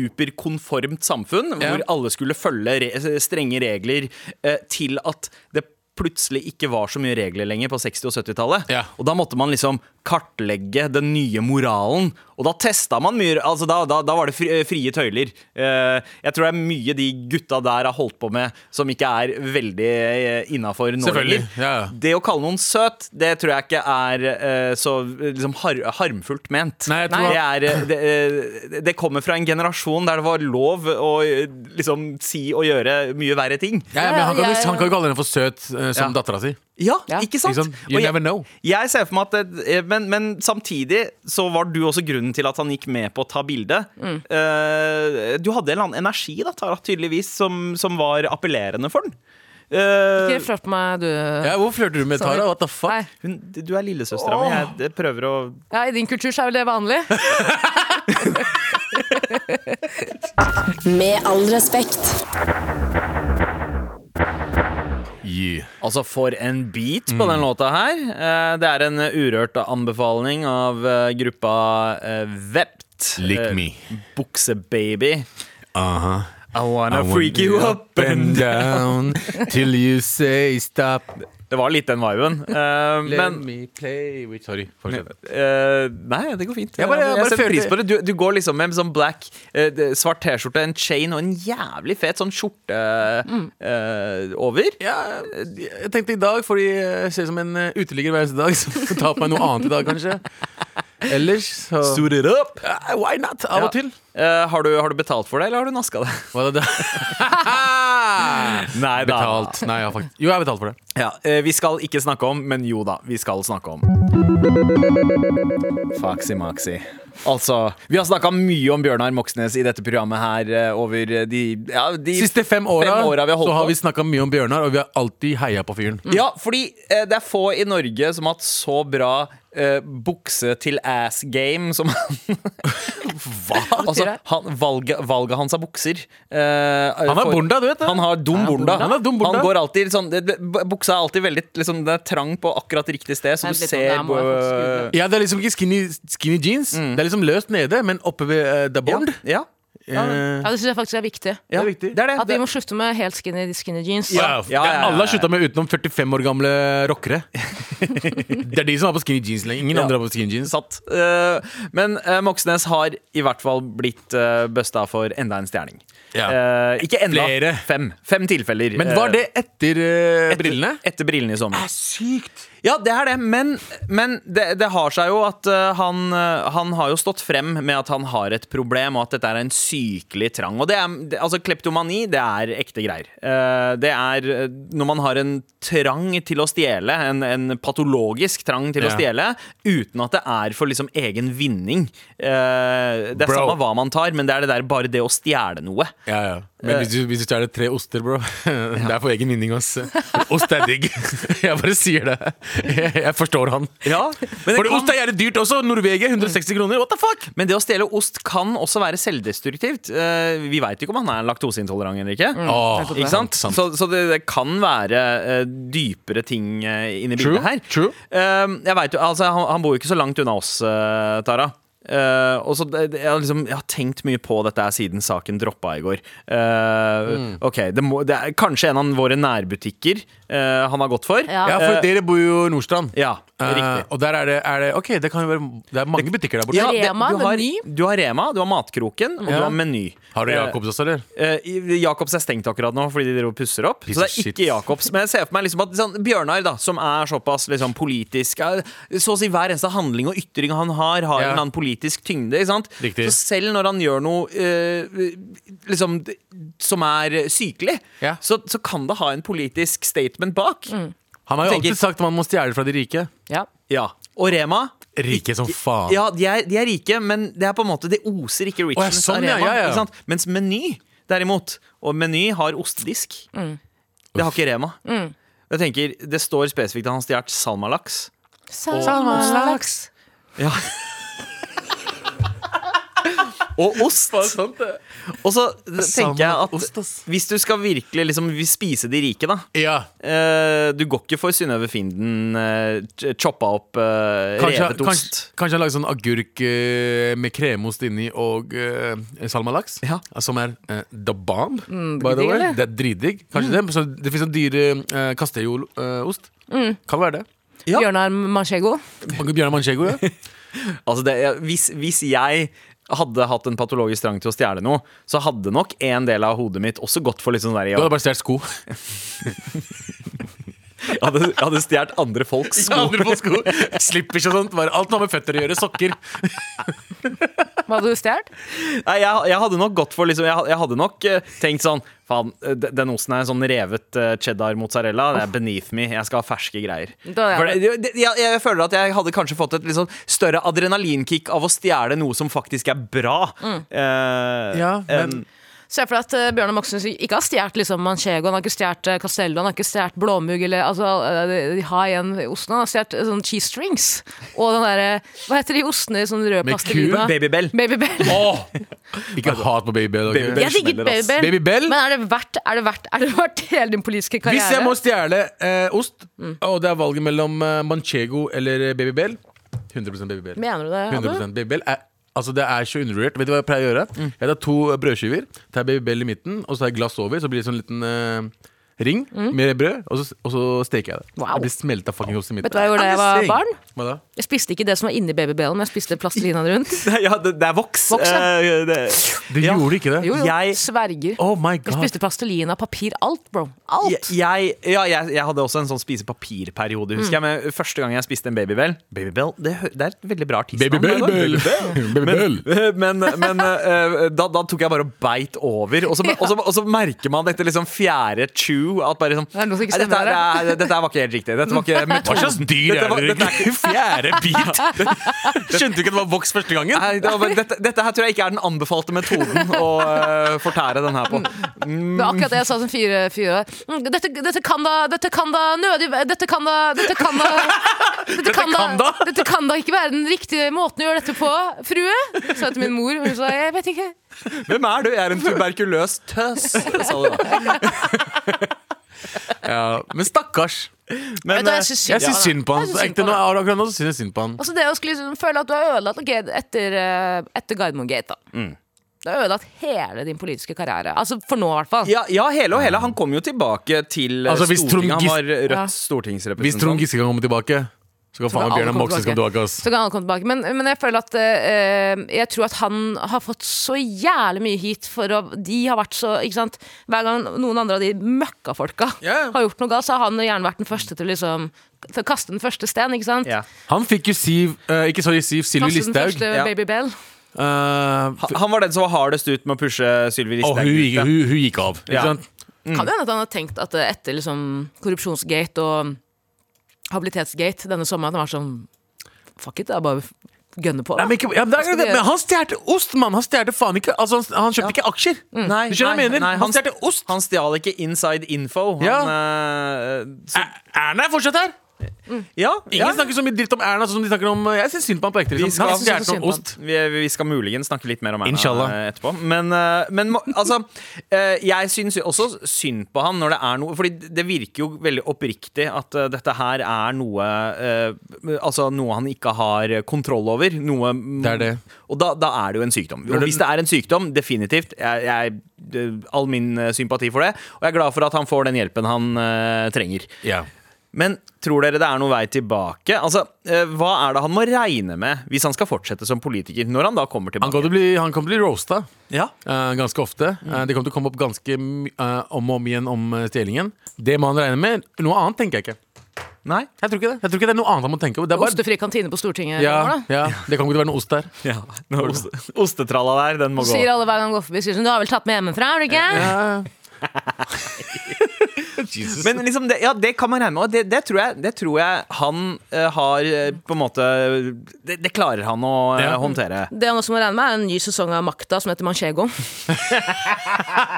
B: superkonformt samfunn,
C: Ja.
B: hvor alle skulle følge re strenge regler, eh, til at det plutselig ikke var så mye regler lenger på 60- og 70-tallet.
C: Ja.
B: Og da måtte man liksom kartlegge den nye moralen. Og da testa man mye altså Da, da, da var det fri, eh, frie tøyler. Eh, jeg tror det er mye de gutta der har holdt på med, som ikke er veldig uh, innafor nå
C: Selvfølgelig,
B: lenger.
C: ja, ja.
B: Det å kalle noen søt, det tror jeg ikke er eh, så eh, liksom har, harmfullt ment.
C: Nei, jeg tror-
B: det, er, eh, det, eh, det kommer fra en generasjon der det var lov å eh, liksom si og gjøre mye verre ting.
C: Ja, ja, men han kan,
D: Ja, ja,
C: jo-
D: ja.
C: han kan jo kalle henne for søt eh, som
B: Ja.
C: dattera si.
B: Ja,
D: Ja.
B: ikke sant?
C: Ikke sant? You
B: Og jeg,
C: never know.
B: Jeg ser for meg at det, men, men samtidig så var du også grunnen til at han gikk med på å ta bilde.
D: Mm.
B: Eh, du hadde en eller annen energi da, Tara, tydeligvis, som, som var appellerende for den. Eh,
D: Ikke flørt på meg, du.
C: Øh. Ja, hvorfor flørter du med
D: Sorry.
C: Tara? What the fuck?
D: Nei.
B: hun, du er lillesøstera mi. Jeg jeg prøver å
D: Ja, I din kultur så er vel det vanlig?
A: Med all respekt.
C: Yeah.
B: Altså, for en beat på den låta her. Eh, det er en urørt anbefaling av eh, gruppa eh, Vept.
C: Lick
B: Eh,
C: me. Uh-huh.
B: Buksebaby.
C: Aha.
B: I wanna freak you up and
C: down till you say stop.
B: Det var litt den viben. Eh,
C: Let
B: men
C: me play with Sorry. fortsett.
B: Eh, nei, det går fint.
C: Jeg bare- jeg bare
B: setter
C: følte-
B: pris på det. Du, du går liksom med en sånn black, eh, det- svart T-skjorte, en chain og en jævlig fet sånn skjorte eh, over.
C: Ja, jeg tenkte i dag, fordi jeg ser ut som en eh, uteligger hver eneste dag, så jeg får ta på meg noe annet i dag, kanskje. Ellers så
B: Stood it up!
C: Eh, Why not? Av og til.
B: Eh, har, du, har du betalt for det, eller har du naska det?
C: Hva er det?
B: Nei da.
C: betalt. Nei, jeg har faktisk Jo, jeg har betalt for det.
B: Ja, eh, vi skal ikke snakke om, men jo da, vi skal snakke om. Faxi maxi. Altså, vi har snakka mye om Bjørnar Moxnes i dette programmet her eh, over de, ja, de
C: Siste fem åra
B: fem åra vi har holdt
C: så har
B: på.
C: vi snakka mye om Bjørnar, og vi har alltid heia på fyren.
B: Ja, fordi eh, det er få i Norge som har hatt så bra eh, bukse-til-ass-game som han. Hva? Altså, han, valget, valget hans av bukser. eh,
C: Han har
B: for-
C: bonda, du vet det.
B: Han har dum borda.
C: bonda. Han har dum borda.
B: går alltid sånn det- det- Buksa er alltid veldig liksom, Den er trang på akkurat riktig sted, så
D: Jeg
B: du
D: vet om
B: ser
D: det, jeg må faktisk google.
C: Ja, det er liksom ikke skinny, skinny jeans. Det er liksom løst nede, men oppe ved uh, the
B: Mm. Ja,
C: bond.
B: ja,
C: Eh,
D: Ja, det syns jeg faktisk er viktig.
B: ja.
C: Det er viktig.
B: Det er det.
D: At vi må slutte med helt skinny, skinny jeans.
C: Ja,
B: ja, ja, ja.
C: Alle har slutta med utenom 45 år gamle rockere. det er de som har på skinny jeans lenger. Ingen
B: Ja.
C: andre har på skinny jeans.
B: Satt. Eh, men eh, Moxnes har i hvert fall blitt uh, busta for enda en stjerning.
C: Ja.
B: Eh, ikke enda.
C: Flere.
B: Fem. Fem tilfeller.
C: Men var
B: eh,
C: det etter eh, brillene?
B: Etter brillene i sommer.
C: Sykt!
B: Ja, det er det, men, men det, det har seg jo at eh, han, eh, han har jo stått frem med at han har et problem, og at dette er en sykelig trang. Og det er, det, altså Kleptomani, det er ekte greier. Eh, det er eh, når man har en trang til å stjele, en, en patologisk trang til å
C: Ja.
B: stjele, uten at det er for liksom egen vinning. Eh, det er
C: Bro.
B: samme hva man tar, men det er det der bare det å stjele noe.
C: Ja, ja. Men hvis du,
B: Eh.
C: hvis du stjeler tre oster, bro Det er for egen vinning, ass. Ost er digg. Jeg bare sier det. Jeg, jeg forstår han.
B: Ja, men det
C: Fordi
B: kan-
C: ost er jævlig dyrt også. Norvegia 160 kroner. What the fuck?
B: Men det å stjele ost kan også være selvdestruktivt. Eh, vi veit ikke om han er laktoseintolerant eller ikke.
C: Mm. Åh,
D: jeg tror
B: Ikke sant?
C: Sant.
B: Så, så det, det kan være eh, dypere ting eh, inni
C: True,
B: bildet her.
C: true.
B: Eh, jeg vet, jo- altså, han, han bor jo ikke så langt unna oss, eh, Tara. Eh, og så det, det- jeg, har liksom, jeg har tenkt mye på dette her siden saken droppa i går. Eh,
C: Mm.
B: Ok, det, må, det er kanskje en av våre nærbutikker eh, han har gått for.
D: Ja.
C: Ja, for dere bor jo i Nordstrand.
B: eh, Ja,
C: Eh,
B: riktig.
C: og der er det, er det Ok, det kan jo være Det er mange butikker der borte.
B: Ja,
D: Rema,
B: du, har,
D: Meny.
B: du har Rema, du har Matkroken, og
C: Ja.
B: du har Meny.
C: Har du
B: Eh,
C: Jacobs også, eller?
B: Eh, Jacobs er stengt akkurat nå fordi de driver og pusser opp.
C: Piece
B: så det
C: of
B: er
C: shit.
B: ikke Jacobs. Men jeg ser for meg liksom at sånn, Bjørnar, da, som er såpass liksom, politisk er- Så å si hver eneste handling og ytring han har, har
C: Ja.
B: en annen politisk tyngde. Ikke sant?
C: Riktig.
B: Så selv når han gjør noe eh, liksom, d- som er sykelig,
C: Ja.
B: så, så kan det ha en politisk statement bak.
C: Han har jo
B: tenker-
C: alltid sagt man må stjele fra de rike.
D: Ja.
B: Ja. Og Rema
C: Rike som faen.
B: ja, de er, de er rike, men det er på en måte Det oser ikke
C: Å, ja,
B: richness
C: sånn, ja,
B: av Rema.
C: ja, ja.
B: Ikke sant? Mens Meny, derimot Og Meny har ostedisk.
C: Mm.
B: Det har ikke Rema. Jeg tenker, Det står spesifikt at han har stjålet salmalaks.
D: Salmalaks.
B: Ja. Og ost. Og så tenker jeg
C: Salma,
B: at
C: ost, ass.
B: hvis du skal virkelig liksom, spise de rike, da
C: Ja.
B: eh, Du går ikke for Synnøve Finden, eh, ch- choppa opp eh,
C: Kanskje,
B: revet ost.
C: kanskje, kanskje han lager sånn agurk eh, med kremost inni og eh, salmalaks.
B: Ja. Mm,
C: Som er eh, the bomb, by the
D: digg,
C: way.
D: eller?
C: Det er dritdigg. Kanskje det. Så det fins sånn dyr uh, kasteljolost.
B: Mm.
C: Kan være det.
B: Ja.
D: Bjørnar Manchego.
C: Bjørnar Manchego, ja.
B: Altså det, jeg- hvis, hvis jeg hadde hatt en patologisk trang til å stjele noe, så hadde nok en del av hodet mitt også gått for litt sånn der
C: Du hadde
B: Jeg
C: bare stjålet sko.
B: hadde, jeg hadde stjålet andre folks sko.
C: Andre på sko. Slippers og sånt. Bare, alt som har med føtter å gjøre. Sokker.
D: Hva hadde du stjålet?
B: Nei, jeg, jeg hadde nok gått for liksom, jeg, had- jeg hadde nok eh, tenkt sånn Faen, eh, de- den osten er en sånn revet eh, cheddar mozzarella. Det er beneath me. Jeg skal ha ferske greier.
D: Da er
B: For det, det, jeg, jeg føler at jeg hadde kanskje fått et litt sånn større adrenalinkick av å stjele noe som faktisk er bra. Eh,
C: Ja, men-
B: enn-
D: Se for deg at eh, Bjørnar Moxnes ikke har stjålet liksom, Manchego, han har ikke stjålet eh, Castello, han har ikke stjålet Blåmugg eller altså, eh, de high end ostene. Han har stjålet eh, sånn cheese strings. Og den derre Hva heter de ostene i sånn rød
C: Med
D: plastelina?
B: kul Babybel.
D: Babybel.
C: Ikke hat på Babybel. ok?
B: Babybel.
D: Jeg digget
B: smeller, ass.
D: Babybel.
C: Babybel?
D: Men er det verdt, er det verdt, er det verdt hele din politiske karriere?
C: Hvis jeg må stjele eh, ost,
D: Mm.
C: og det er valget mellom eh, Manchego eller eh, Babybel 100 Babybel.
D: Mener du det? Abu?
C: 100% Babybel er, altså det er så undervurdert. Vet du hva jeg pleier
D: Mm.
C: å gjøre? Jeg tar to eh, brødskiver, tar Babybel i midten, og så tar jeg glass over. Så blir det sånn liten eh, ring med brød, og så, og så steker jeg det.
D: Mm. Wow.
C: Det blir smelta fucking kostymit.
D: Vet du hva jeg gjorde da jeg var barn?
C: Hva da?
D: Jeg spiste ikke det som var inni babybellen, men jeg spiste plastelina rundt.
B: Ja, det, det er voks.
D: Voks, ja.
B: Eh, det,
C: Du
B: Ja.
C: gjorde ikke det?
D: Jo, jo.
B: Jeg-
D: Sverger.
C: Oh my
D: Jeg
C: god.
D: spiste plastelina, papir, alt, bro. Alt.
B: Jeg, jeg, ja, jeg, jeg hadde også en sånn spisepapirperiode, husker jeg. Men første gang jeg spiste en babybell Babybell, det, hø- det er et veldig bra artistnavn.
C: Babybell,
B: det der.
C: babybell.
B: Men, men eh, da, da tok jeg bare og beit over. Og så, og så, og så merker man etter liksom fjerde chew at bare sånn
D: Det er noe som ikke
B: «Nei, dette,
D: stemmer
B: her
D: her,
B: er- dette her var ikke helt riktig. Dette var ikke
C: Hva
B: metoden.
C: slags dyr
B: Dette
C: er
B: var-
C: dere?
B: dette er
C: egentlig? Fjerde bit? Skjønte du ikke at det var voks første gangen?
B: Nei, det var, dette, dette her tror jeg ikke er den anbefalte metoden å eh, fortære den her på.
D: Mm. Det var akkurat det jeg sa som fire, fire år. Mm, Dette, dette kan da Dette kan da nødig Dette kan da Dette kan da Dette kan
C: kan
D: da,
C: da?
D: dette kan da ikke være den riktige måten å gjøre dette på, frue. Sa jeg til min mor. og Hun sa jeg vet ikke.
B: Hvem er du? Jeg er en tuberkuløs tøs, sa du da.
C: Ja, men stakkars.
D: Vet
B: Men,
D: du hva,
B: eh,
D: jeg syns
C: Jeg syns
D: synd
C: synd på han.
D: Jeg synes synd
C: Ekte
D: på
C: nå,
D: han.
C: akkurat nå så syns jeg synd på han.
D: Altså det å skulle liksom føle at du har ødelagt noe etter, eh, etter Gardermoen Gate. da.
C: Mm.
D: Du har ødelagt hele din politiske karriere. Altså For nå, i hvert fall.
B: ja, ja, hele og hele. Han kom jo tilbake til eh,
C: Altså, hvis Trond
B: Stortinget. Han
C: Gis-
B: var
D: Ja.
B: Rødts
C: Hvis Trond
B: stortingsrepresentant.
C: Giske kan komme tilbake, så kan faen meg
D: alle
C: Bjørnar
D: komme
C: Moxnes komme tilbake. ass
D: Så kan han komme tilbake. Men, men jeg føler at eh, Jeg tror at han har fått så jævlig mye hit for å De har vært så Ikke sant? Hver gang noen andre av de møkkafolka
C: Ja.
D: har gjort noe galt, så har han gjerne vært den første til å liksom til å kaste den første sten, ikke sant?
B: Ja.
C: Han fikk jo Siv eh, Ikke sorry, Siv Silje
D: Kaste den
C: Listhaug.
D: første
B: Ja.
D: babybell.
C: Eh,
B: Ha- Han var den som var hardest ut med å pushe Sylvi
C: og
B: Listhaug.
C: hun, gikk-
B: ut, ja.
C: hun, hun gikk av. Ikke
B: Ja.
C: sant?
D: Kan det hende at han har tenkt at eh, etter liksom korrupsjonsgate og habilitetsgate denne sommeren, at han var sånn Fuck it, det er bare å gønne på.
C: Nei, men, ikke, ja, det er,
D: skal
C: det,
D: vi
C: men
D: gjøre?
C: han stjal ost, mann! Han stjal faen ikke Altså, han, han kjøpte ikke aksjer.
D: Mm.
B: Nei,
C: Du skjønner hva jeg
B: nei,
C: mener?
B: nei,
C: han
B: han,
C: stjal ost.
B: han stjal ikke inside info. Han,
C: Ja.
B: eh, så,
C: Er- Erna er fortsatt her!
B: ja,
C: Ingen
B: ja.
C: snakker så mye dritt om Erna sånn som de snakker om eh, Jeg syns synd på han på ekte.
B: Vi
C: Liksom.
B: skal-
C: Han
D: Jeg synes
C: stjal
D: også
C: noe
D: synd
C: ost.
B: Vi, vi skal muligens snakke litt mer om Erna
C: Inshallah.
B: eh, etterpå. Men, eh, men må- altså eh, Jeg syns jo også synd på han når det er noe Fordi det virker jo veldig oppriktig at eh, dette her er noe eh, Altså noe han ikke har kontroll over. Noe
C: Det er det.
B: Og da, da er det jo en sykdom. Og hvis det er en sykdom, definitivt. Jeg, jeg, det- all min eh, sympati for det. Og jeg er glad for at han får den hjelpen han eh, trenger.
C: Ja.
B: Men tror dere det er noen vei tilbake? Altså, eh, Hva er det han må regne med hvis han skal fortsette som politiker? Når han da kommer tilbake?
C: Han kommer til å bli, han kommer til å bli roasta.
B: Ja.
C: Eh, ganske ofte. Eh, det kommer til å komme opp ganske my- eh, om og om igjen om eh, stjelingen. Det må han regne med. Noe annet tenker jeg ikke.
B: Nei?
C: Jeg tror ikke det Jeg tror ikke det er noe annet han må tenke på. Det er bare,
D: Ostefri kantine på Stortinget.
C: ja,
D: nå, da.
C: ja, det kommer ikke til å være noe ost der.
B: Ja. Oste, ostetralla der, den må gå.
D: Sier alle hver gang han går forbi sier sånn, Du har vel tatt med hjemmefra, har du ikke?
C: Jesus.
B: Men liksom det, ja, det kan man regne med, og det, det, tror, jeg, det tror jeg han eh, har eh, på en måte Det, det klarer han å eh,
C: Ja.
B: håndtere.
D: Det han også må regne med, er en ny sesong av Makta som heter Manchego.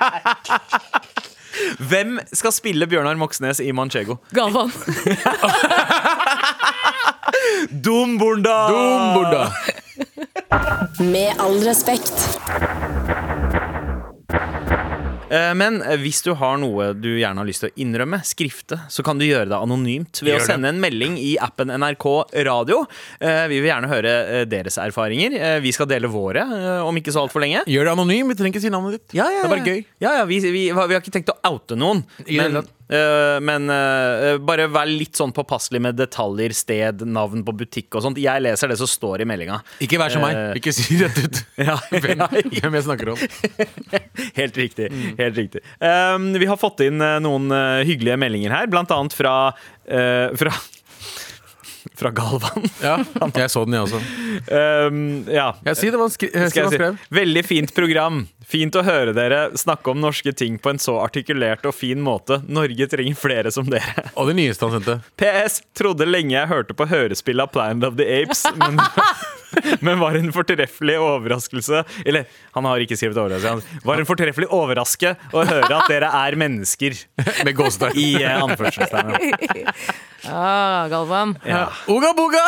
B: Hvem skal spille Bjørnar Moxnes i Manchego?
D: Galvan.
B: Dum Borda!
C: Dum burda.
A: Med all respekt.
B: Eh, Men eh, hvis du har noe du gjerne har lyst til å innrømme, skrifte, så kan du gjøre det anonymt ved
C: Gjør
B: å
C: det.
B: sende en melding i appen NRK Radio. Eh, Vi vil gjerne høre eh, deres erfaringer. Eh, Vi skal dele våre eh, om ikke så altfor lenge.
C: Gjør det anonym. Vi trenger ikke si navnet ditt. Det er bare gøy.
B: Ja, ja, vi, vi, vi har ikke tenkt å oute noen.
C: I det
B: Men,
C: hele tatt.
B: eh, men eh, bare vær litt sånn påpasselig med detaljer, sted, navn på butikk og sånt. Jeg leser det som står i meldinga.
C: Ikke vær som meg.
B: Eh.
C: Ikke si rett ut
B: Ja,
C: hvem,
B: ja,
C: hvem jeg snakker om.
B: Helt riktig. helt riktig Ehm, Vi har fått inn eh, noen eh, hyggelige meldinger her, blant annet fra eh, Fra, fra Galvan.
C: Ja, jeg så den, jeg også.
B: Ehm, ja.
C: Jeg sier det var skri eh, si
B: Skal
C: hva han
B: jeg
C: skrev.
B: si. Veldig fint program. Fint å høre dere snakke om norske ting på en så artikulert og fin måte. Norge trenger flere som dere.
C: Og det nyeste han sendte.
B: PS. Trodde lenge jeg hørte på hørespill av Planet of the Apes, men, men var en fortreffelig overraskelse Eller, han har ikke skrevet overraskelse. han- Var en fortreffelig overraske å høre at dere er mennesker,
C: Med gåsetegn.
B: i eh, anførselstegn.
D: ah, Galvan.
B: Ja.
C: Uga buga!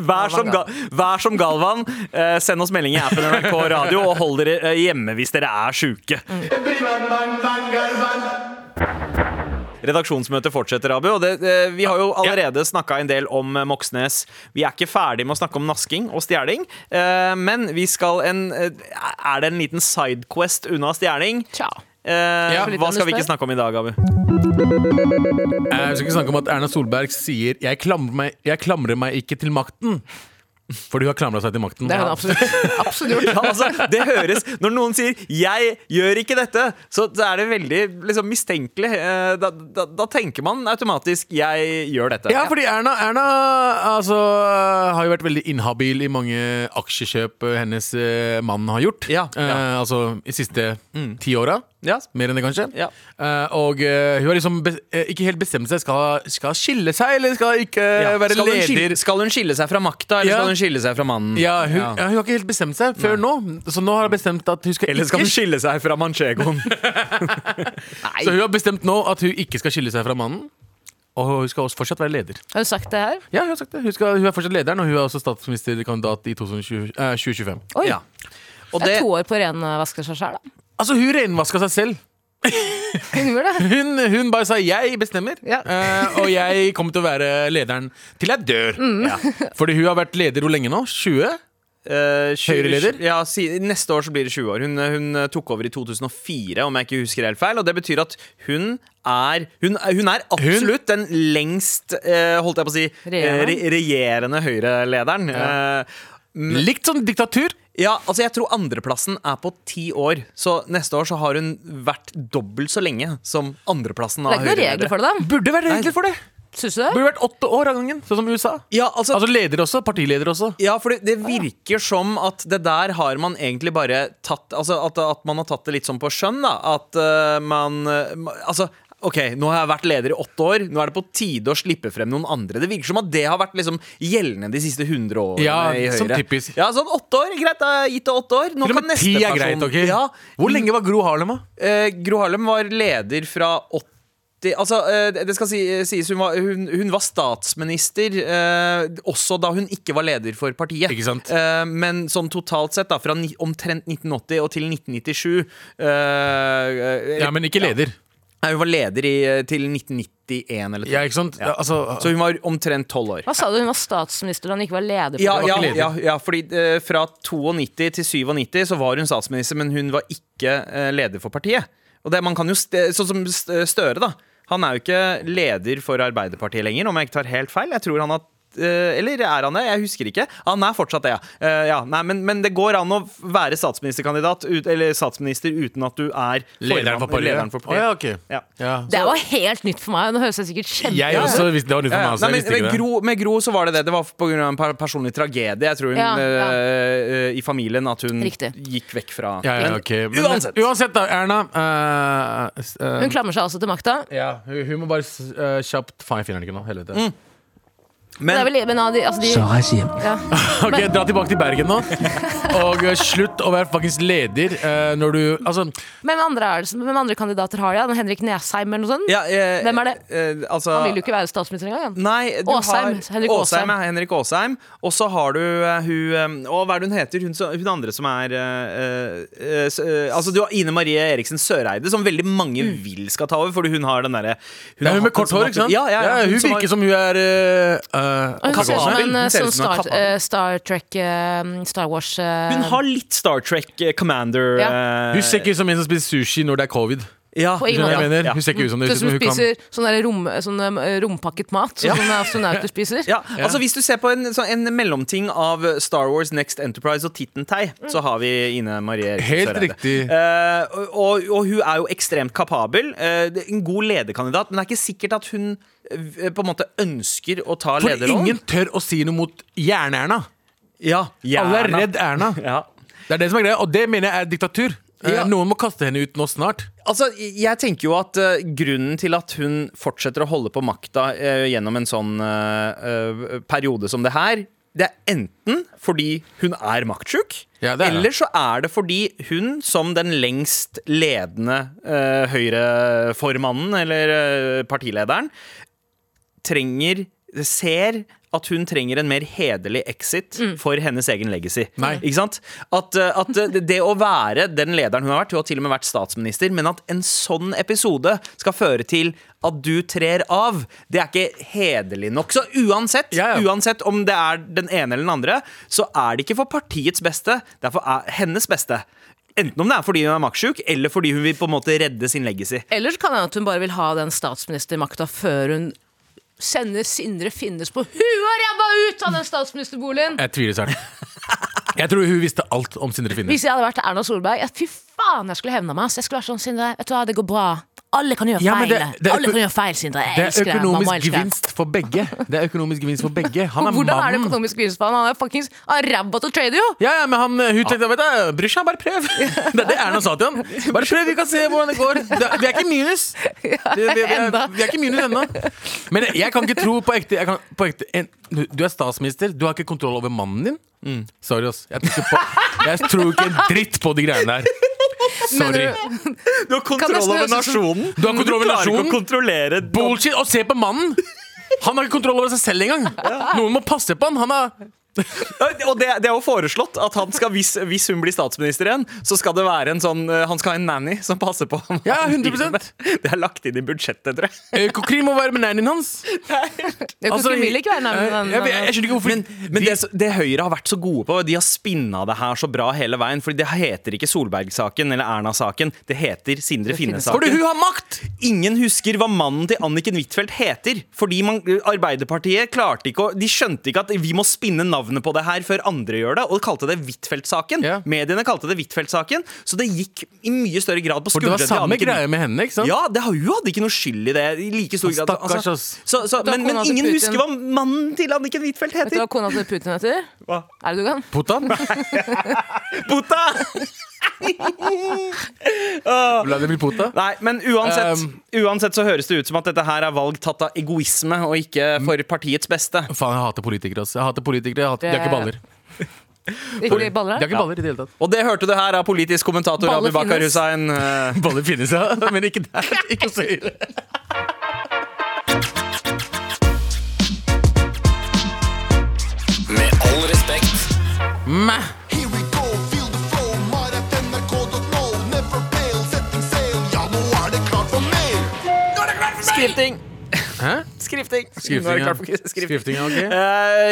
B: Vær, som Ga- vær som Galvan. Eh, send oss melding i appen NRK Radio, og hold dere eh, hjemme hvis dere er sjuke. Redaksjonsmøtet fortsetter, Abu. Og det, eh, vi har jo allerede snakka en del om eh, Moxnes. Vi er ikke ferdig med å snakke om nasking og stjeling, eh, men vi skal en eh, Er det en liten sidequest unna stjeling?
D: Tja.
B: Eh,
C: Ja.
B: hva skal vi ikke snakke om i dag, Abu?
C: Eh, Vi skal ikke snakke om at Erna Solberg sier jeg klamrer meg, jeg klamrer meg ikke til makten. Fordi hun har klamra seg til makten.
D: Det er hun absolutt. absolutt.
B: Ja, altså, det høres Når noen sier 'jeg gjør ikke dette', så så er det veldig liksom, mistenkelig. Eh, Da, da, da tenker man automatisk 'jeg gjør dette'.
C: Ja, fordi Erna, Erna altså, har jo vært veldig inhabil i mange aksjekjøp eh, hennes eh, mann har gjort.
B: Ja,
C: Eh,
B: ja. Mm.
C: altså i siste ti åra.
B: Ja.
C: Mer enn det, kanskje.
B: Ja.
C: Eh, og eh, hun har liksom be eh, ikke helt bestemt seg. Skal skal hun skille seg, eller skal hun ikke eh,
B: Ja.
C: være
B: skal, hun
C: leder?
B: skille, skal hun skille seg fra makta, eller
C: Ja.
B: skal hun skille seg fra mannen?
C: Ja hun, ja. hun har ikke helt bestemt seg før nå. Så nå har hun bestemt at hun skal
B: Eller skal
C: ikke
B: hun skille seg fra manchegoen?
C: Nei. Så hun har bestemt nå at hun ikke skal skille seg fra mannen. Og hun skal også fortsatt være leder.
D: Har du sagt det her?
C: Ja, hun har sagt det. Hun, skal, hun er fortsatt lederen, og hun er også statsministerkandidat i 2020, eh, 2025.
D: Oi.
B: Ja. Og
D: Det er
B: det,
D: to år på å renvaske seg sjæl, da.
C: Altså, hun renvaska seg selv.
D: Hun gjør det.
C: Hun, hun bare sa 'jeg bestemmer',
D: Ja.
C: eh, og jeg kommer til å være lederen til jeg dør. Ja. Fordi hun har vært leder hvor lenge nå? 20?
B: eh, tjue-
C: Høyreleder?
B: Ja, si, neste år så blir det 20 år. Hun, hun eh, tok over i 2004, om jeg ikke husker helt feil. Og det betyr at hun er Hun, eh, hun er absolutt den lengst, eh, holdt jeg på å si, eh, re regjerende Høyre-lederen. Eh,
C: Likt som diktatur.
B: Ja, altså jeg tror andreplassen er på ti år, så neste år så har hun vært dobbelt så lenge som andreplassen
D: Det
B: av
D: er ikke noen regler for det, da.
C: Burde vært regler for det.
D: Syns du det?
C: Burde vært åtte år av gangen, sånn som i USA.
B: Ja, altså,
C: Altså leder også. Partileder også.
B: ja, for det, det virker som at det der har man egentlig bare tatt Altså at, at man har tatt det litt sånn på skjønn, da. At eh, man eh, ma- Altså, OK, nå har jeg vært leder i åtte år. Nå er det på tide å slippe frem noen andre. Det virker som at det har vært liksom gjeldende de siste hundre årene
C: Ja,
B: i Høyre.
C: sånn typisk.
B: Ja, sånn åtte år. Greit, da har jeg gitt det åtte år. Nå
C: Til og
B: kan
C: med
B: neste
C: ti er
B: person-
C: greit, ok?
B: Ja,
C: Hvor lenge var Gro Harlem, da?
B: Eh, Gro Harlem var leder fra 80 Altså, eh, det skal si, sies hun var, hun, hun var statsminister eh, også da hun ikke var leder for partiet.
C: Ikke sant?
B: Eh, men sånn totalt sett, da, fra ni, omtrent 1980 og til 1997 eh,
C: Ja, men ikke leder.
B: Nei, hun var leder i, eh, til 1991 eller noe.
C: Ja, ikke sant? Altså,
B: Så hun var omtrent tolv år.
D: Hva sa du? Hun var statsminister da hun ikke var leder? for
B: Ja,
D: det?
B: ja,
C: ikke leder.
B: ja, ja, fordi eh, fra 92 til 97 så var hun statsminister, men hun var ikke eh, leder for partiet. Og det, man kan jo, st- Sånn som St- Støre, da. Han er jo ikke leder for Arbeiderpartiet lenger, om jeg ikke tar helt feil. Jeg tror han har eh, eller er han det? Jeg husker ikke. Han er fortsatt det, ja. Eh, ja nei, men, men det går an å være statsministerkandidat ut, eller statsminister uten at du er
C: lederen for
B: formann-
C: partiet.
B: lederen for
C: Å, ja,
B: partiet.
C: ok.
B: Ja.
C: Ja.
D: Det var helt nytt for meg. Nå høres jeg sikkert kjempe
C: Jeg også, hvis det var nytt for
B: Ja, ja.
C: meg også.
B: Nei,
C: Jeg
B: men, altså,
C: visste ikke
B: med,
C: det.
B: Gro, med Gro så var det det. Det var pga. en per- personlig tragedie Jeg tror hun,
D: Ja, ja.
B: eh, eh, i familien at hun
D: Riktig.
B: gikk vekk fra
C: Ja, ja,
B: Men
C: ok. Men,
B: Uansett!
C: uansett, da, Erna. eh, s- eh,
D: Hun klamrer seg altså til makta.
C: ja, hun, hun må bare s- eh, kjapt Faen, jeg finner den ikke nå. Helvete.
B: Mm.
D: Det er
B: Men
D: vel, men av de, altså de, ja.
C: Ok, Dra tilbake til Bergen nå. Og eh, slutt å være fuckings leder eh, når du Altså,
D: Men hvem andre, er det, som- hvem andre kandidater har de? da? Henrik Nesheim eller noe sånt?
B: ja, eh,
D: Hvem er det?
B: eh, altså,
D: Han vil jo ikke være statsminister engang. han.
B: Nei, du
D: Åsheim.
B: har
D: Henrik Åsheim.
B: Åsheim. er Henrik Åsheim. Og så har du eh, hun eh, Å, hva er det hun heter? Hun, så- hun andre som er eh, eh, s- eh, Altså, du har Ine Marie Eriksen Søreide, som veldig mange
D: Mm.
B: vil skal ta over, fordi hun har den derre
C: det er
B: har
C: hun med
B: hatt en
C: kort hår,
B: sånn-
C: ikke sant?
B: Ja, ja, ja,
C: hun
B: som har-
C: virker som hun er eh, eh,
D: Hun ser ut som
C: kapabel.
D: en
B: Hun
D: eh,
B: ser ut
D: sånn
B: som en
D: Star,
B: kapabel.
D: eh, Star Trek eh, Star Wars eh,
B: Hun har litt Star Trek eh, Commander
D: Ja.
B: eh,
C: Hun ser ikke ut som en som spiser sushi når det er covid.
B: ja,
D: På ingen
C: Skjønner du hva jeg
D: måte.
C: mener?
B: Ja.
C: Hun ser ikke ut som det.
D: Sånn
C: Hun
D: som
C: ser
D: hun
C: ut som hun kan
D: spiser sånn der rom, sånn eh, rompakket mat, sånn som astronauter spiser.
B: Ja, altså Hvis du ser på en, sånn- en mellomting av Star Wars Next Enterprise og Tittentei, så har vi Ine Marie Eriksen
C: Helt
B: Søreide.
C: riktig.
B: Eh, og, og hun er jo ekstremt kapabel. eh, det er en god lederkandidat, men det er ikke sikkert at hun eh, på en måte ønsker å ta
C: For
B: lederrollen.
C: ingen tør å si noe mot Jern-Erna.
B: ja,
C: Alle er
B: gjerne.
C: redd Erna.
B: Ja.
C: Det er det som er greia, og det mener jeg er diktatur. Eh,
B: Ja.
C: Noen må kaste henne ut nå snart.
B: Altså, jeg tenker jo at eh, grunnen til at hun fortsetter å holde på makta eh, gjennom en sånn eh, eh, periode som det her, det er enten fordi hun er maktsjuk,
C: Ja, det er det.
B: eller så er det fordi hun som den lengst ledende eh, høyreformannen, eller eh, partilederen, trenger Ser at hun trenger en mer hederlig exit
C: Mm.
B: for hennes egen legacy.
C: Nei.
B: Ikke sant? At, eh, at eh, det å være den lederen hun har vært, hun har til og med vært statsminister, men at en sånn episode skal føre til at du trer av, det er ikke hederlig nok. Så uansett,
C: Ja, ja.
B: uansett om det er den ene eller den andre, så er det ikke for partiets beste, det er for eh, hennes beste. Enten om det er fordi hun er maktsjuk, eller fordi hun vil på en måte redde sin legacy.
D: Ellers kan det hende at hun bare vil ha den statsministermakta før hun sender Sindre Finnes på huet og ræva ut av den statsministerboligen!
C: Jeg tviler sterkt. Jeg tror hun visste alt om Sindre Finnes.
D: Hvis jeg hadde vært Erna Solberg, jeg, fy faen, jeg skulle hevna meg. ass. Jeg skulle vært sånn, Sindre, vet du hva, det går bra. Alle kan gjøre
C: Ja,
D: feil.
C: men det- det er
D: Alle
C: øko-
D: kan gjøre feil, Sindre.
C: Det
D: Jeg
C: er
D: elsker deg. Mamma
C: økonomisk
D: elsker deg.
C: gevinst for begge. Det er økonomisk gevinst for begge Han er
D: Hvordan er det
C: mannen.
D: økonomisk gevinst for han? Han er fuckings han er ræva til å trade, jo!
C: Ja, ja, men han, eh, hun tenkte vet du, Bryr seg, bare prøv. Det er det Erna sa til ham. Bare prøv, vi kan se hvordan det går. Det- Vi er ikke i minus. Vi, vi, vi, er,
D: enda.
C: vi er ikke i minus ennå. Men jeg kan ikke tro på ekte, jeg kan, på ekte en, du- Du er statsminister, du har ikke kontroll over mannen din. Sorry, ass. Jeg tror, ikke på, jeg tror ikke en dritt på de greiene der. Sorry.
B: Du har kontroll
D: nesten
B: over
D: høres ut som-
B: nasjonen.
C: Du har kontroll over
B: men klarer ikke å
C: nasjonen.
B: kontrollere
C: Bullshit! Og se på mannen! Han har ikke kontroll over seg selv engang. Noen må passe på han. Han er
B: Og det, det er jo foreslått at han skal, hvis, hvis hun blir statsminister igjen, så skal det være en sånn eh, Han skal ha en nanny som passer på ham.
C: Ja, 100%.
B: Det er lagt inn i budsjettet, tror jeg.
C: Økokrim eh, må være med nannyen hans.
D: Altså, vil ikke være nærmere
C: jeg,
D: den-
C: jeg, jeg skjønner ikke hvorfor
B: Men, men det, det Høyre har vært så gode på, de har spinna det her så bra hele veien. Fordi det heter ikke Solberg-saken eller Erna-saken, det heter Sindre
C: Fordi
B: Finne-saken.
C: hun har makt!
B: Ingen husker hva mannen til Anniken Huitfeldt heter. Fordi man, Arbeiderpartiet klarte ikke å, De skjønte ikke at vi må spinne navnet på det her før andre gjør det, og kalte det Huitfeldt-saken.
C: Ja.
B: Mediene kalte det Huitfeldt-saken, så det gikk i mye større grad på
C: For det
B: skuldrene
C: var samme greie med henne, ikke sant?
B: Ja, det, har- hun hadde ikke noe skyld i det. I like stor grad Altså,
C: Stakkars, ass.
B: så, så,
D: Da
B: Men, men
D: kona til
B: ingen
D: Putin.
B: husker hva mannen til Anniken Huitfeldt
D: Vet du
B: heter.
D: hva kona til Putin heter?
B: Hva?
D: Erdogan.
C: Putan?
B: Puta!
C: Vladimir Puta?
B: Nei, men uansett,
C: Um,
B: uansett så høres det ut som at dette her er valg tatt av egoisme og ikke for
C: Mm.
B: partiets beste.
C: Faen, jeg hater politikere, ass. Jeg hater politikere, jeg hater, De har ikke baller.
D: Ikke bli
C: De
D: baller
C: har
D: her.
C: ikke baller i det hele tatt.
B: Og det hørte du her av politisk kommentator
D: Balle
B: Abu Bakar
D: finnes.
B: Hussein. eh,
C: Baller finnes, ja. Men ikke der. Ikke hos Høyre.
E: Med all respekt.
C: Mæ.
F: Here we go, feel the flow. Mar.nrk.no. Never fail, setting sail. Ja, nå er det klart for mer.
B: Skrifting!
C: Hæ?
B: Skrifting. Nå er
C: Skrifting,
B: det
C: ja.
B: klart for skrifting.
C: Skrifting, ja, ok.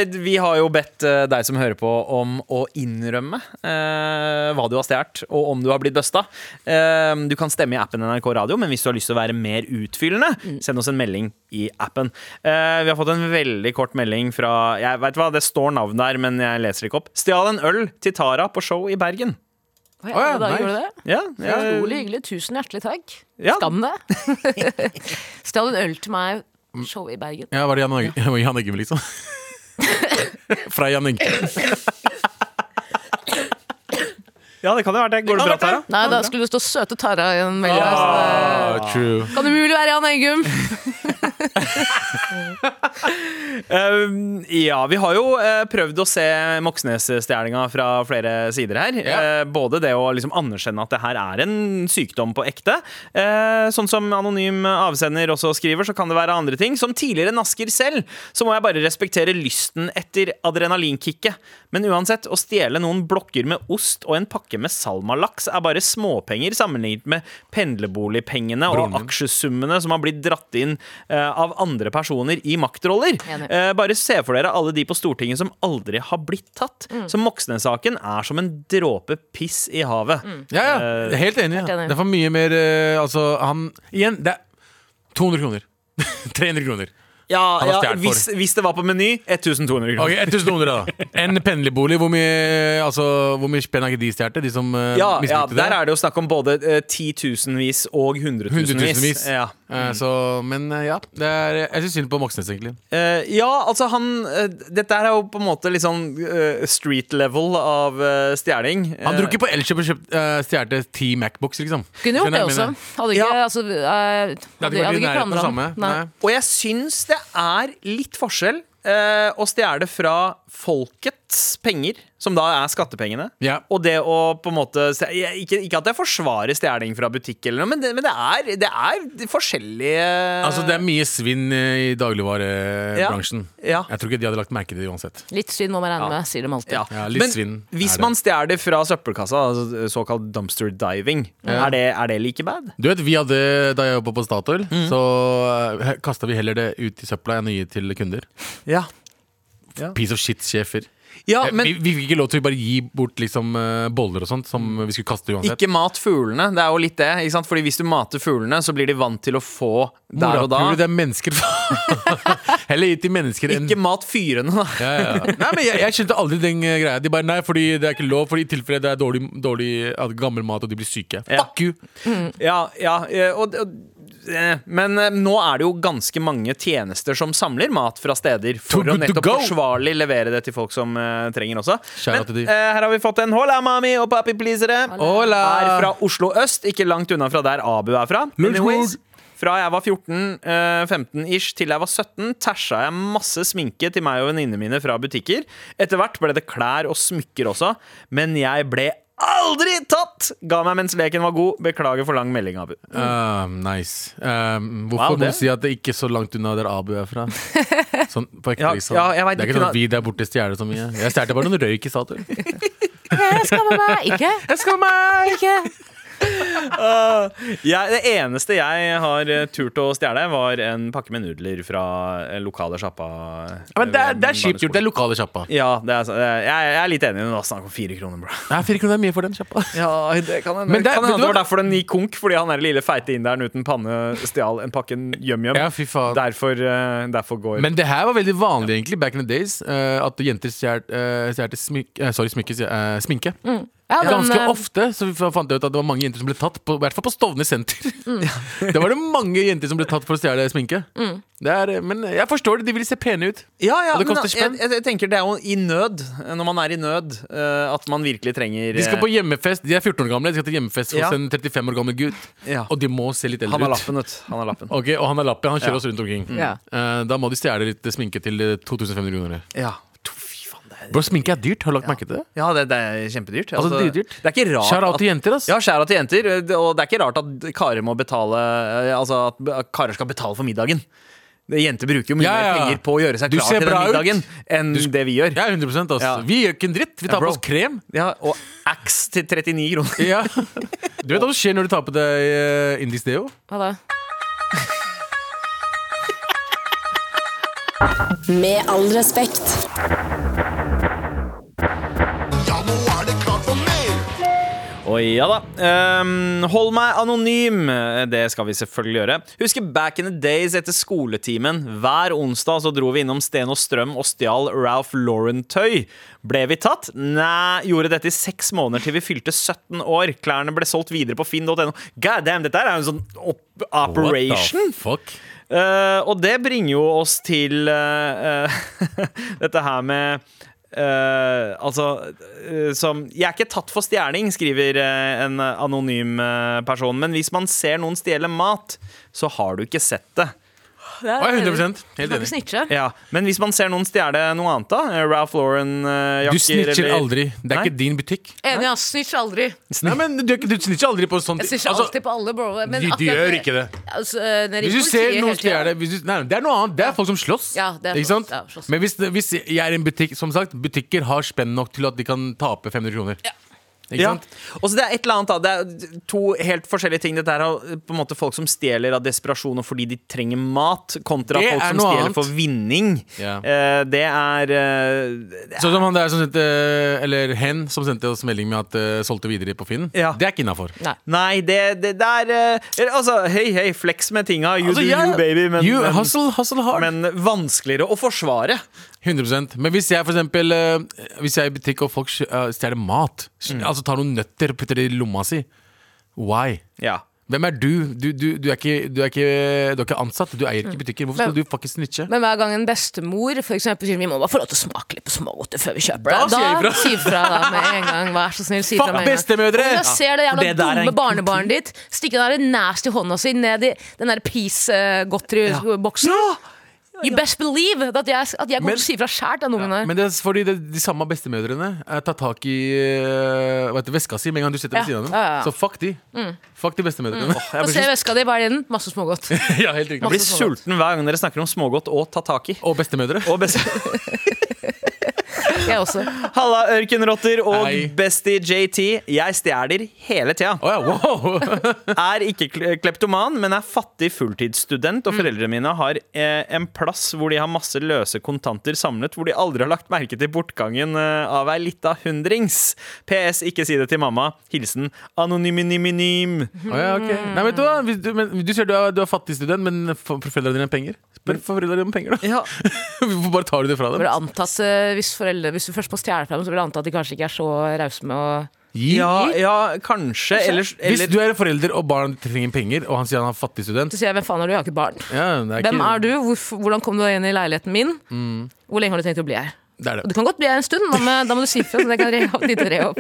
B: Eh, vi har jo bedt eh, deg som hører på om å innrømme eh, hva du har stjålet, og om du har blitt busta. Eh, du kan stemme i appen NRK Radio, men hvis du har lyst til å være mer utfyllende, send oss en melding i appen. Eh, vi har fått en veldig kort melding fra jeg vet hva, Det står navn der, men jeg leser ikke opp. Stjal en øl til Tara på show i Bergen.
D: Oi,
C: Å ja,
D: alle dager
C: nice.
D: gjorde det?
B: Ja, eh,
D: Utrolig hyggelig. Tusen hjertelig takk.
B: Ja.
D: Skam deg. Stjal en øl til meg, show i Bergen.
C: Mm. Ja, var det Jan Eggum, Jan Eggum liksom? Fra Jan Eggum.
B: ja, det kan jo være det. Går det bra, Tara?
D: Nei, da skulle det stå 'søte Tara' i en melding.
C: Ah, true.
D: Kan det mulig være Jan Eggum?
B: Um, ja, vi har jo eh, prøvd å se Moxnes-stjelinga fra flere sider her.
C: Ja.
B: Eh, både det å liksom anerkjenne at det her er en sykdom på ekte. Eh, sånn som anonym avsender også skriver, så kan det være andre ting. Som tidligere nasker selv, så må jeg bare respektere lysten etter adrenalinkicket. Men uansett, å stjele noen blokker med ost og en pakke med salmalaks er bare småpenger sammenlignet med pendlerboligpengene
C: Broren
B: og
C: min.
B: aksjesummene som har blitt dratt inn eh, av andre personer i maktroller.
D: Enig.
B: Eh, bare se for dere alle de på Stortinget som aldri har blitt tatt. Så Moxnes-saken er som en dråpe piss i havet.
C: Ja, ja. Helt enig. Ja.
D: enig.
C: Det er for mye mer eh, Altså, han Igjen, det er 200 kroner. 300 kroner.
B: Ja,
C: Han har
B: ja,
C: stjålet for.
B: hvis, hvis det var på Meny, 1200
C: Ok,
B: kroner.
C: 1200, da. En pendlerbolig. Hvor mye altså, Hvor mye spenn har ikke de stjålet? De som eh,
B: Ja, ja,
C: misbrukte
B: der
C: det?
B: er det jo snakk om både eh, titusenvis og hundretusenvis.
C: Hundretusenvis.
B: Ja.
C: Eh, så, men eh, ja. Det er, jeg syns synd på Moxnes, egentlig.
B: Eh, ja, altså han eh, Dette her er jo på en måte litt sånn eh, street level av uh, stjeling.
C: Han
B: Eh,
C: dro ikke på Elkjøp og kjøpt, eh, stjerte ti Macbooks, liksom.
D: Kunne gjort
C: Skjønner
D: det
C: jeg
D: også.
C: mener?
D: Hadde ikke,
B: Ja.
D: altså, eh, hadde,
C: Det hadde ikke vært i
D: hadde ikke
C: nærheten av
D: klandret
C: det
D: han.
C: samme.
D: Nei.
C: Nei.
B: Og jeg syns det er litt forskjell eh, å stjele fra folkets penger, som da er skattepengene,
C: Ja.
B: og det å på en måte stje- jeg- Ikke, ikke at jeg forsvarer stjeling fra butikk, eller noe, men det, men det, er, det er forskjellige
C: Altså, det er mye svinn eh, i dagligvarebransjen.
B: Ja. Ja.
C: Jeg tror ikke de hadde lagt merke til det uansett.
D: Litt synd må man regne med, sier de alltid.
B: ja.
C: Ja, litt
B: Men
C: svinn er
B: hvis
C: det.
B: man stjeler fra søppelkassa, altså såkalt dumpster diving, er, det, er det like bad?
C: Du vet, vi hadde, Da jeg jobba på Statoil,
B: Mm.
C: så eh, kasta vi heller det ut i søpla enn å gi til kunder.
B: Ja.
C: Piece of shit-sjefer.
B: Ja,
C: Eh, vi,
B: men
C: vi fikk ikke lov til å bare gi bort liksom, eh, boller og sånt som vi skulle kaste uansett.
B: Mm. ikke mat fuglene. Det er jo litt det. ikke sant? Fordi hvis du mater fuglene, så blir de vant til å få der og da.
C: Morapuler, det er mennesker. Heller gi til mennesker enn
B: Ikke mat fyrene, da.
C: ja, ja. ja. Nei, men jeg, jeg skjønte aldri den eh, greia. De bare nei, fordi det er ikke lov. Fordi i tilfelle det er dårlig, dårlig eh, gammel mat, og de blir syke.
B: Ja.
C: Fuck you!
B: Ja, ja eh, og, og eh, men eh, nå er det jo ganske mange tjenester som samler mat fra steder
C: Too
B: for å
C: good to
B: nettopp
C: go!
B: forsvarlig levere det til folk som eh, trenger også.
C: Shout
B: Men
C: out til de.
B: eh, her har vi fått en hola, mami og papi pleasere.
C: Hola.
B: Er fra Oslo øst, ikke langt unna fra der Abu er fra.
C: Lunchmord.
B: Anyways, fra jeg var 14-15-ish til jeg var 17, tæsja jeg masse sminke til meg og venninnene mine fra butikker. Etter hvert ble det klær og smykker også, men jeg ble aldri tatt! Ga meg mens leken var god. Beklager for lang melding, Abu.
C: Um, nice. Um,
B: Wow,
C: hvorfor må
B: det-
C: du si at det ikke er så langt unna der Abu er fra? Sånn, på ekte,
B: Ja,
C: liksom.
B: ja, jeg vet
C: det er
B: ikke
C: ikke sånn
B: da-
C: at vi der borte stjeler så mye. Jeg stjal bare noen røyk i stad. tror jeg.
D: Jeg skammer meg ikke. Jeg skammer meg ikke.
B: Jeg, det eneste jeg har eh, turt å stjele, var en pakke med nudler fra eh, lokale sjappa.
C: Ja, Men det er, det er kjipt gjort. Det
B: Det
C: er lokale sjappa.
B: ja, det er, så- det er- jeg, jeg er litt enig i det. nå, Snakk om fire kroner, bro.
C: Nei, Fire kroner er mye for den sjappa.
B: Ja, det kan hende
C: Men det-
B: Kan hende
C: vet du
B: det var
C: hva?
B: derfor den gikk konk, fordi han der lille feite inderen uten panne stjal en pakke jøm-jøm.
C: Ja, fy faen.
B: derfor, eh, derfor går
C: Men det her var veldig vanlig egentlig back in the days. eh, at jenter stjal eh, stjal smyk, eh, sorry, smykke, sier- eh, sminke.
D: Ja, den,
C: Ganske
D: eh,
C: ofte så vi fant jeg ut at det var mange jenter som ble tatt. På, I hvert fall på Stovner senter. det var det mange jenter som ble tatt for å stjele sminke. Det er, eh, men jeg forstår det, de vil se pene ut.
B: Ja, ja,
C: Og det
B: men
C: koster
B: jeg,
C: spenn.
B: jeg, jeg tenker det er jo i nød, eh, når man er i nød, eh, at man virkelig trenger
C: De skal
B: eh,
C: på hjemmefest, de er 14 år gamle, de skal til hjemmefest hos
B: Ja.
C: en 35 år gammel gutt.
B: Ja.
C: Og de må se litt
B: Han har
C: eldre ut.
B: lappen, vet du. Han har lappen.
C: Ok, Og han har lappen, han kjører oss rundt omkring.
D: Mm. Ja.
C: Eh, da må de stjele litt sminke til eh, 2500 kroner.
B: Ja. To- Fy faen, det er
C: Bro, sminke er dyrt, har du lagt merke til det?
B: Ja, det, det er kjempedyrt.
C: Altså, det er dyrt.
B: det er ikke rart
C: Shout out til
B: at-
C: jenter, ass.
B: Ja, skjæra til jenter. Og det er ikke rart at karer må betale eh, Altså at karer skal betale for middagen. Det- Jenter bruker jo mye
C: Ja, ja.
B: mer penger på å gjøre seg
C: Du
B: klar
C: ser
B: til den
C: bra ut.
B: middagen enn
C: Du sk-
B: det vi gjør.
C: Ja, 100 ass.
B: Ja.
C: Vi gjør ikke en dritt. Vi tar
B: bro.
C: på oss krem.
B: Ja, og Axe til 39 kroner.
C: Ja. Du vet hva som skjer når du tar på deg uh, Indisk Deo?
D: Hva da?
A: Med all respekt.
F: Ja, nå er det klart for mer!
B: Og ja da. ehm, hold meg anonym. Det skal vi selvfølgelig gjøre. Husker back in the days etter skoletimen. Hver onsdag så dro vi innom Sten og Strøm og stjal Ralph Lauren-tøy. Ble vi tatt? Nei. Gjorde dette i seks måneder til vi fylte 17 år. Klærne ble solgt videre på finn.no. God damn, dette her er jo en sånn op operation.
C: What the fuck?
B: Eh, og det bringer jo oss til eh, eh, dette her med eh, altså eh, som Jeg er ikke tatt for stjeling, skriver eh, en anonym eh, person. Men hvis man ser noen stjele mat, så har du ikke sett det.
C: Oi, 100 Helt
D: Du kan ikke
C: enig.
D: snitche.
B: Ja, Men hvis man ser noen stjele noe annet, da? eh, Ralph eh, Lauren-jakker?
C: Du snitcher aldri. Det er
B: Nei.
C: ikke din butikk.
D: Enig, ass. Snitch aldri.
C: Nei, men Du, du snitcher aldri på sånt.
D: Jeg snitcher
C: Altså,
D: alltid på alle, bro. Men
C: du, du
D: akkurat-
C: gjør ikke det.
D: Altså, eh, når jeg
C: Hvis
D: gikk
C: du
D: politiet
C: ser
D: hele
C: noen
D: tiden-
C: stjele hvis du, nei, Det er noe annet. Det er folk som slåss.
D: Ja, det er
C: ikke
D: slåss.
C: sant?
D: Ja, slåss.
C: Men hvis, hvis jeg er i en butikk Som sagt, butikker har spenn nok til at de kan tape 500 kroner. Ikke
B: Ja.
C: sant?
B: Og så det er et eller annet da Det er to helt forskjellige ting. Dette her er på en måte folk som stjeler av desperasjon og fordi de trenger mat, kontra
C: Det
B: folk
C: er
B: som
C: noe
B: stjeler
C: annet.
B: for vinning.
C: Ja.
B: Eh, det er eh, det-
C: Sånn som han der som sendte Eller hen som sendte oss melding med at uh, solgte videre på Finn.
B: Ja.
C: Det er ikke innafor.
D: Nei.
B: Nei, det, det, det er eh, eller, Altså, hei, hei, flex med tinga. You do you, baby. Men, men,
C: Altså, hustle, hustle hard.
B: men vanskeligere å forsvare.
C: 100 Men hvis jeg for eksempel eh, Hvis jeg er i butikk og folk eh, stjeler mat,
B: Mm.
C: altså tar noen nøtter og putter det i lomma si, why?
B: Ja.
C: Hvem er du? Du, du, du, er, ikke, du, er, ikke, du er ikke ansatt, du eier ikke butikker. Hvorfor skal
D: Men-
C: du fuckings snitche?
D: Men hver gang en bestemor for eksempel, sier vi må bare få lov til å smake litt på smågodter før vi kjøper
C: Da
D: det,
C: sier jeg ifra.
D: si ifra da med en gang. Vær så snill, si
C: Fuck
D: ifra med en gang.
C: bestemødre!
D: Og Når du ser det jævla
B: det der er en
D: dumme
B: kultur.
D: barnebarnet ditt stikke den der nasty hånda si ned i den der peace-godteriboksen You best believe at jeg, at jeg kommer til å si ifra sjæl til den ungen der.
C: Men det er fordi det, de samme bestemødrene eh, tar tak i eh, hva heter det, veska si med en gang du setter ved
D: Ja,
C: siden av
D: ja,
C: dem.
D: ja. Mm.
C: Så fuck de. Fuck de bestemødrene.
D: Få se veska di, hva er det i den? Masse smågodt.
C: ja, helt
B: Jeg
C: riktig.
B: blir sulten hver gang dere snakker om smågodt og ta tak i.
C: Og bestemødre.
B: Og best
D: Jeg også.
B: Halla, ørkenrotter og
C: Hei.
B: bestie JT. Jeg stjeler hele tida.
C: Å ja, wow!
B: Er ikke kle- kleptoman, men er fattig fulltidsstudent. Og foreldrene mine har eh, en plass hvor de har masse løse kontanter samlet, hvor de aldri har lagt merke til bortgangen eh, av ei lita hundrings. PS, ikke si det til mamma. Hilsen anonymininim.
C: Å ja, ok. Nei, vet du hva? Hvis du, men, du sier du er, du er fattig student, men for for foreldrene dine har penger?
D: Mm.
C: Spør foreldrene dine om penger, da.
B: Ja.
C: Hvorfor bare tar du det fra
D: Bør det
C: dem?
D: antas, eh, hvis, foreldre, hvis du først må stjele fra dem, så bør det antas at de kanskje ikke er så rause med å
C: Gi.
B: Ja, ja, kanskje. Ellers,
C: Hvis
B: eller
C: du er en forelder og barnet ditt trenger penger, og han sier han er fattig student
D: Så sier jeg 'hvem faen er du, jeg har ikke barn'.
C: ja, det er
D: Hvem
C: ikke,
D: er du? Hvorfor, hvordan kom du deg inn i leiligheten min?
C: Mm.
D: Hvor lenge har du tenkt å bli her?
C: Det er
D: Og
C: det.
D: du kan godt bli her en stund, men eh, da må du si ifra. Så jeg kan re opp, dit og re opp.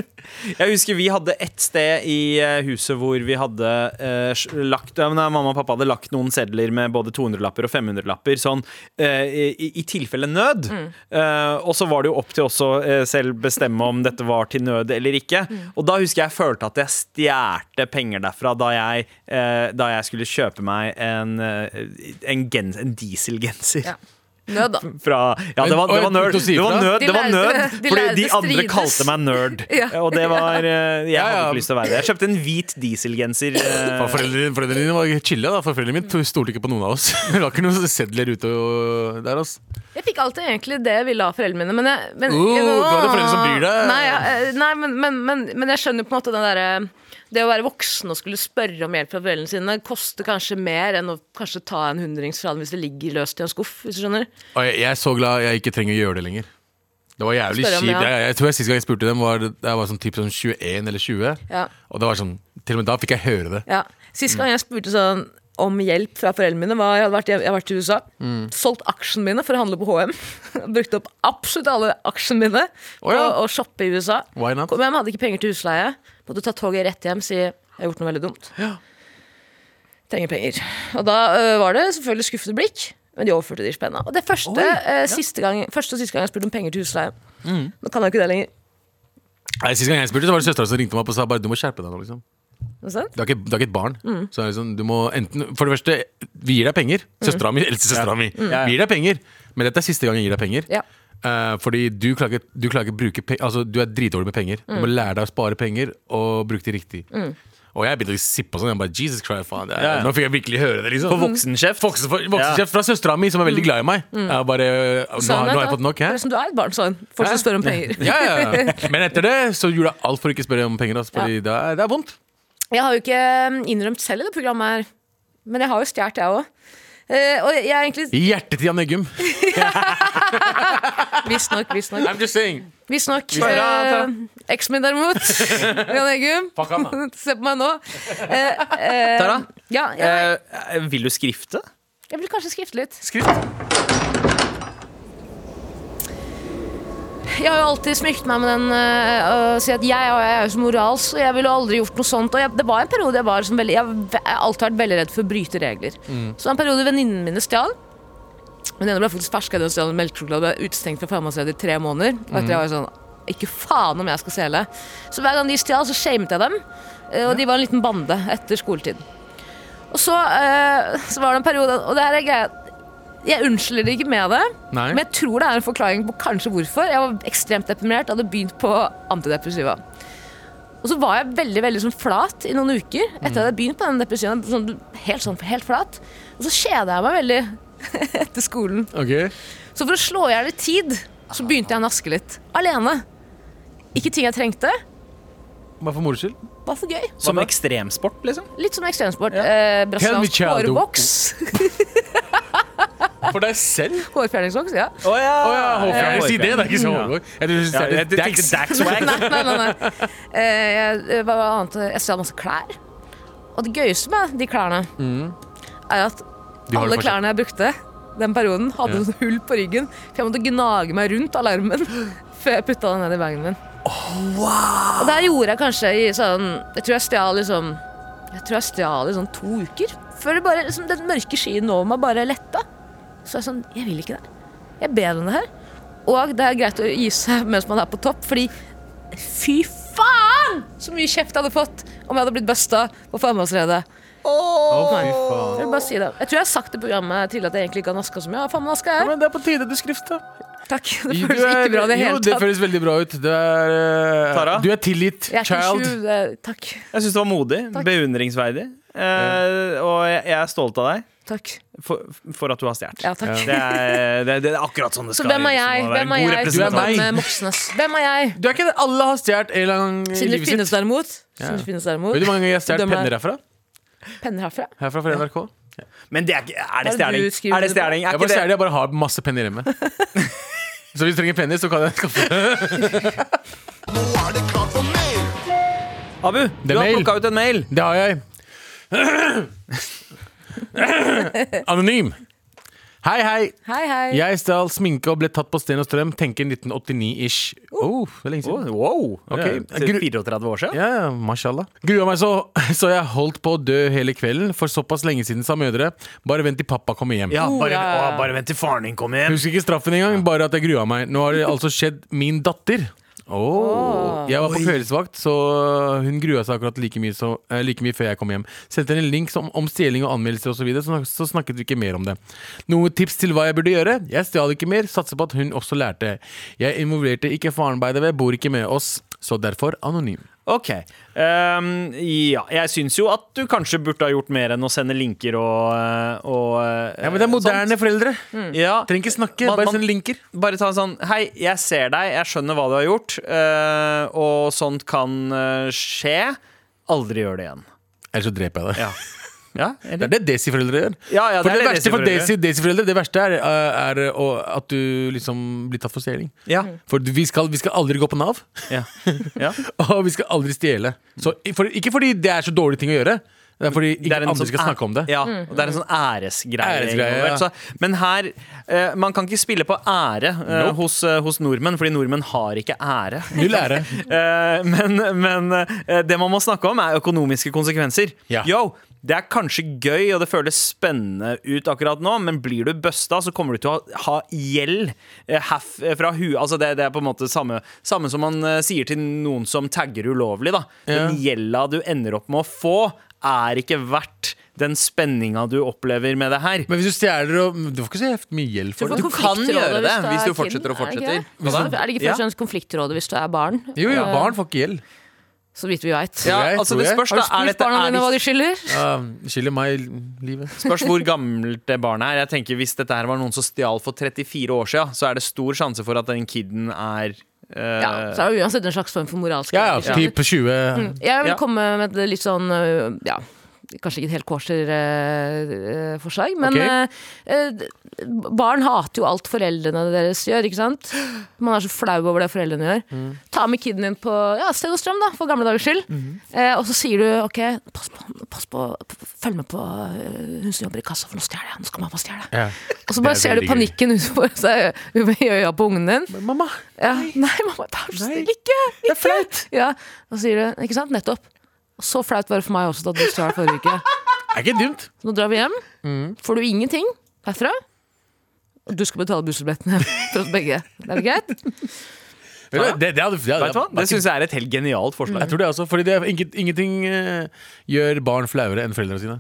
B: Jeg husker vi hadde et sted i eh, huset hvor vi hadde eh, sj- lagt ja, men nei, Mamma og pappa hadde lagt noen sedler med både 200-lapper og 500-lapper sånn eh, i, i tilfelle nød. Eh, og så var det jo opp til oss å eh, selv bestemme om dette var til nød eller ikke. Og da husker jeg jeg følte at jeg stjerte penger derfra da jeg, eh, da jeg skulle kjøpe meg en, eh, en, gens, en dieselgenser.
D: Ja. Nød, da.
B: Fra, ja, det var, det var
C: Oi,
B: nerd.
C: du sier
B: Det var
C: fra.
B: nerd,
D: De
B: det var
D: lærde-
B: nerd
D: de
B: fordi
D: lærde
B: de andre
D: strides.
B: kalte meg nerd. Og det var eh, Jeg hadde
C: ja.
B: ikke lyst til å være det. Jeg kjøpte en hvit dieselgenser. eh,
C: For Foreldrene foreldrene dine var chilla, da. For foreldrene mine to- stolte ikke på noen av oss. Det var ikke noen sedler ute og der, altså.
D: Jeg fikk alltid egentlig det jeg ville av foreldrene mine. Men jeg, men,
C: Oh, du hadde foreldre som bryr deg.
D: Nei, jeg, nei men, men, men, men jeg skjønner på en måte den derre Det å være voksen og skulle spørre om hjelp fra foreldrene sine koster kanskje mer enn å kanskje ta en hundrings fra dem hvis det ligger løst i en skuff. Hvis du skjønner
C: Og jeg, jeg er så glad jeg ikke trenger å gjøre det lenger. Det var jævlig
D: Spør om
C: kjipt.
D: det, ja.
C: Jeg, jeg tror jeg Sist gang jeg spurte dem, var da jeg var sånn typ sånn 21 eller 20.
D: Ja.
C: Og det var sånn, til og med da fikk jeg høre det.
D: Ja. Sist gang jeg spurte sånn om hjelp fra foreldrene mine, var jeg hadde vært, hjem- jeg hadde vært i USA.
C: Mm.
D: Solgt aksjene mine for å handle på HM. Brukte opp absolutt alle aksjene mine på
C: Å ja.
D: å shoppe i USA.
C: Why not?
D: Kom hjem, hadde ikke penger til husleie. Måtte ta toget rett hjem, si jeg har gjort noe veldig dumt. Trenger penger. Og da øh, var det selvfølgelig skuffede blikk, men de overførte de spenna. Og det første, øh, siste gang, første og siste gang jeg spurte om penger til husleie.
C: Mm.
D: Nå kan jeg jo ikke det lenger.
C: Nei, Sist gang jeg spurte, så var det søstera som ringte meg opp og sa bare du må skjerpe deg nå. liksom
D: Ikke sant?
C: Du er ikke, du er ikke et barn. Så det er liksom, du må enten, For det første, vi gir deg penger. Søstera mi, eldste søstera mi.
B: Ja, ja.
C: Vi gir deg penger, men dette er siste gang jeg gir deg penger.
D: Ja.
C: Eh, fordi du klarer ikke du klarer ikke å bruke penger Altså, du er dritdårlig med penger. Du må lære deg å spare penger og bruke de riktig. Og jeg begynte å sippe og sånn. Jeg bare, Jesus Christ, faen det er,
B: Ja, ja.
C: Nå fikk jeg virkelig høre det. liksom
B: På voksenkjeft.
C: Voksen, voksenkjeft fra søstera mi, som er veldig glad i meg. Jeg bare, nå, har- nå har jeg fått nok, hæ?
D: Forresten, du er et barn, sa hun. Fortsatt spør om penger.
C: Ja, ja, ja. Men etter det så gjorde jeg alt for å ikke spørre om penger. Altså, fordi det, er, det er vondt.
D: Jeg har jo ikke mm, innrømt selv i det programmet her, men jeg har jo stjålet, jeg òg. Eh, og jeg er egentlig
C: I hjertet til Jan Eggum.
D: Visstnok, visstnok.
C: I'm just saying.
D: Visstnok.
B: Ja,
D: Eh, Eksen min derimot, Jan Eggum,
C: Fuck han, da.
D: se på meg nå. Eh, eh,
B: Tara?
D: ja, jeg,
B: Eh, vil du skrifte?
D: jeg vil kanskje skrifte litt.
B: Skrift?
D: Jeg har jo alltid smykt meg med den eh, å si at jeg, jeg er jo så moralsk, og jeg ville jo aldri gjort noe sånt. Og jeg, det var en periode jeg var som veldig Jeg har ve- jeg har alltid vært veldig redd for å bryte regler. Så det var en periode venninnene mine stjal. Venninnene ble faktisk ferska i den stjal melkesjokolade og ble utestengt fra farmasøyter i tre måneder. Og etter det var jeg sånn Ikke faen om jeg skal stjele. Så hver gang de stjal, så shamet jeg dem. eh, Og de var en liten bande etter skoletid. Og så, eh, så var det en periode Og det her er greia. Jeg unnskylder det ikke med det.
C: Nei.
D: Men jeg tror det er en forklaring på kanskje hvorfor. Jeg var ekstremt deprimert, hadde begynt på antidepressiva. Og så var jeg veldig veldig sånn flat i noen uker etter at jeg hadde begynt på den depressiva. Sånn, helt sånn, helt flat. Og så kjeda jeg meg veldig etter skolen.
C: Ok.
D: Så for å slå i hjel litt tid, så begynte jeg å naske litt. Alene. Ikke ting jeg trengte.
C: Bare for moro skyld.
D: Bare for gøy.
B: Som ekstremsport, liksom?
D: Litt som ekstremsport. Eh,
C: Tell me,
D: Brasiliansk
C: child.
D: hårvoks.
C: For deg selv?
D: Hårfjerningsvoks, ja.
B: Å ja!
C: Å ja, håper jeg. Si det, det er ikke så
B: Ja.
C: hårvåg. Jeg tror du
B: Ja,
C: sier det
B: jeg
C: er
B: tenkte
C: Dax.
B: Daxwax.
D: Nei, nei, nei. Eh, jeg, eh, hva var annet? Jeg stjal masse klær. Og det gøyeste med de klærne er at
C: Mm. De har
D: alle
C: det fortsatt.
D: klærne jeg brukte den perioden, hadde noen hull på ryggen. For jeg måtte gnage meg rundt alarmen før jeg putta den ned i bagen min. Og der gjorde jeg kanskje i sånn Jeg tror jeg stjal liksom Jeg tror jeg stjal i sånn to uker. Før det bare, liksom, den mørke skyen over meg bare letta. Så jeg sånn Jeg vil ikke det. Jeg ber om det her. Og det er greit å gi seg mens man er på topp, fordi fy faen så mye kjeft jeg hadde fått om jeg hadde blitt busta på Farmasredet.
C: Å, fy
D: Nei.
C: faen.
D: Jeg vil bare si det. Jeg tror jeg har sagt i programmet tidligere at jeg egentlig ikke har naska så mye. Ja, faen, naska jeg.
C: Men det er på tide du skrifter.
D: Takk. Det
C: Du
D: føles ikke
C: er-
D: bra i det
C: jo,
D: hele
C: det
D: tatt.
C: føles veldig bra ut. Du er, eh,
B: Tara?
C: Du er tilgitt,
D: Jeg er ikke
C: child.
D: sju. det- Takk.
B: Jeg syns det var modig. Beundringsverdig. Eh, og jeg, jeg er stolt av deg
D: Takk.
B: for, for at du har stjålet.
D: Ja, takk.
B: Det, er- det, det er akkurat sånn det
D: Så
B: skal
D: hvem er
B: gjøres,
D: jeg?
B: må være en
D: Hvem er
B: god
D: jeg?
C: Du er
B: representant.
C: meg.
D: Med Moxnes. Hvem er jeg?
C: Du er ikke det. Alle har stjålet en gang i
D: Siden det
C: livet
D: finnes
C: sitt.
D: derimot. Siden det
C: Ja.
D: finnes
C: Vet du
D: derimot.
C: hvor mange ganger jeg har
D: Du
C: stjålet
D: dømmer-
C: penner herfra?
D: Penner herfra.
C: Herfra fra NRK.
B: Men det er, ikke, er
D: Hva
B: det
D: er det
B: stjeling?
D: du skriver
B: Er
D: under
B: det
D: på?
B: stjeling? Er
C: Jeg bare
B: ikke
C: stjeler,
B: det?
C: jeg bare har masse penner hjemme. Så hvis du trenger penner, så kan jeg skaffe det.
F: Nå er det klart for mer.
B: Abu, du har
C: mail.
B: plukka ut en mail.
C: Det har jeg. Anonym. Hei, hei.
D: Hei, hei.
C: Jeg stjal sminke og ble tatt på Sten og Strøm, tenker 1989-ish. Oh, det er lenge
B: Oh,
C: siden.
B: wow.
C: Ok.
B: Ja, til 34 år siden?
C: Ja, ja, mashallah. Grua meg så, så jeg holdt på å dø hele kvelden. For såpass lenge siden sa mødre bare vent til pappa kommer hjem.
B: Ja, bare,
D: Oh, ja, ja.
B: å, bare vent til faren din kommer hjem.
C: Husker ikke straffen engang, bare at jeg grua meg. Nå har det altså skjedd min datter. Åh. Jeg var på kveldsvakt, så hun grua seg akkurat like mye, så, eh, like mye før jeg kom hjem. Sendte henne en link som, om stjeling og anmeldelser osv., så, videre, så, snak- så snakket vi ikke mer om det. Noe tips til hva jeg burde gjøre? Jeg stjal ikke mer, satser på at hun også lærte. Jeg involverte ikke faren, by the way, bor ikke med oss, så derfor anonym.
B: Ok. Ehm, ja, jeg syns jo at du kanskje burde ha gjort mer enn å sende linker og, eh, og eh,
C: Ja, men det er moderne foreldre.
B: sånt. Ja.
C: Trenger ikke snakke,
B: Man-
C: bare
B: man-
C: send linker.
B: Bare ta en sånn Hei, jeg ser deg, jeg skjønner hva du har gjort, eh, og sånt kan eh, skje. Aldri gjør det igjen.
C: Eller så dreper jeg deg.
B: Ja. Ja, eller?
C: Det er det Desi-foreldre gjør.
B: Ja, ja, det
C: for
B: er
C: det,
B: det
C: verste for
B: Desi-foreldre.
C: Desi- Desi-foreldre Det verste er, eh, er, er å- at du liksom blir tatt for stjeling.
B: Ja.
C: For vi skal, vi skal aldri gå på Nav,
B: Ja. ja.
C: og vi skal aldri stjele. Så, for, ikke fordi det er så dårlige ting å gjøre, det er fordi ikke
B: en
C: andre
B: sånn
C: skal
B: æ-
C: snakke om det.
B: Ja, og det er en sånn æresgreie.
C: Æresgreie, ja.
B: involvert, så- Men her eh, Man kan ikke spille på ære eh,
C: Nope.
B: hos, eh, hos nordmenn, fordi nordmenn har ikke ære.
C: Null ære.
B: Eh, men men eh, det man må snakke om, er økonomiske konsekvenser.
C: Ja.
B: Yo, det er kanskje gøy, og det føles spennende ut akkurat nå, men blir du busta, så kommer du til å ha, ha gjeld eh, herf, eh, fra huet. Altså det, det er på en måte samme, samme som man eh, sier til noen som tagger ulovlig. Da. Den gjelda du ender opp med å få, er ikke verdt den spenninga du opplever med det her.
C: Men hvis du stjeler og Du får ikke så heft mye gjeld for
D: Tror
C: det.
D: du
B: Du
D: på
B: kan
D: konfliktrådet
B: gjøre det
D: hvis du er
B: hvis du
D: kid?
B: fortsetter og
D: Er det ikke
B: fortsetter.
D: det? Er det ikke først og fremst konfliktrådet hvis du er barn?
C: Jo, jo,
D: Eh,
C: barn får ikke gjeld.
D: Så vidt vi veit.
B: Ja,
C: jeg,
B: altså
C: tror
B: det
C: jeg.
B: spørs
D: Har
B: da,
D: du
B: er
D: spurt
B: dette,
D: barna
B: er
D: dine hva
B: disse-
D: de skylder?
C: Ja, Um, skiller meg i livet.
B: Spørs hvor gammelt det barnet er. Jeg tenker Hvis dette her var noen som stjal for 34 år siden, så er det stor sjanse for at den kiden er eh,
D: Ja, så er det uansett en slags form for moralsk
C: Ja, ja.
D: regel.
C: Typ 20
D: Jeg vil
B: Ja.
D: komme med et litt sånn øh, ja, Kanskje ikke et helt kosher øh, øh, forslag, men
C: Ok.
D: øh, øh, barn hater jo alt foreldrene deres gjør, ikke sant? Man er så flau over det foreldrene gjør.
C: Mm.
D: Ta med kiden din på ja, Sted og Strøm, da, for gamle dagers skyld.
C: Mm.
D: eh, og så sier du OK, pass på, pass på p- p- følg med på øh, hun som jobber i kassa, for nå stjeler jeg. Nå skal mamma stjele.
C: Ja.
D: Og så bare
C: Det er
D: ser du
C: veldig gøy.
D: panikken utenfor seg i øya på ungen din.
C: Mamma,
D: Ja. Nei, mamma, vær så
C: Nei.
D: snill, ikke!
C: det er flaut!
D: Ja, da sier du, ikke sant, nettopp Så flaut var det for meg også da du stjal forrige uke
C: Er ikke dumt.
D: Så nå drar vi hjem
C: Mm.
D: Får du ingenting herfra Og du skal betale bussebillettene for oss begge Det er det greit?
C: Det, det, det, hadde- det, hadde-
B: Vet du hva? Det syns jeg er et helt genialt forslag.
C: Jeg tror det også, fordi det er inget, ingenting eh, gjør barn flauere enn foreldrene sine.